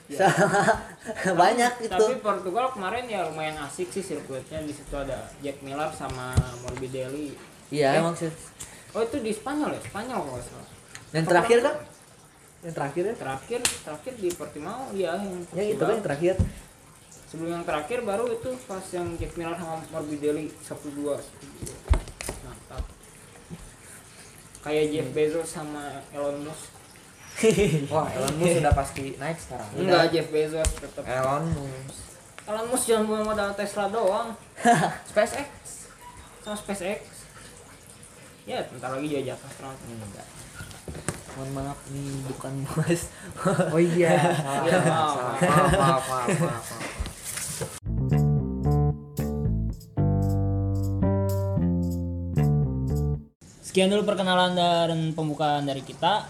[SPEAKER 3] Iya.
[SPEAKER 2] sama banyak gitu. itu
[SPEAKER 1] tapi Portugal kemarin ya lumayan asik sih sirkuitnya di situ ada Jack Miller sama Morbidelli
[SPEAKER 3] Eh,
[SPEAKER 2] iya emang sih
[SPEAKER 1] oh itu di Spanyol ya Spanyol kalau nggak salah
[SPEAKER 2] yang terakhir kan yang terakhir ya
[SPEAKER 1] terakhir terakhir di Portimao ya yang
[SPEAKER 2] yang itu
[SPEAKER 1] Portugal.
[SPEAKER 2] kan yang terakhir
[SPEAKER 1] sebelum yang terakhir baru itu pas yang Jack Miller sama Morbidelli satu dua mantap kayak Jeff Bezos sama Elon Musk
[SPEAKER 3] Wah, Elon Musk udah Eh. pasti naik sekarang.
[SPEAKER 1] enggak Jeff Bezos tetap
[SPEAKER 3] Elon Musk.
[SPEAKER 1] Elon Musk jangan punya modal Tesla doang SpaceX sama SpaceX ya bentar lagi juga jatah astronot enggak
[SPEAKER 2] mohon maaf nih bukan bos
[SPEAKER 3] Oh iya, salah,
[SPEAKER 1] Iya, maaf.
[SPEAKER 3] salah, salah. maaf, maaf, maaf, maaf.
[SPEAKER 1] sekian dulu perkenalan dan pembukaan dari kita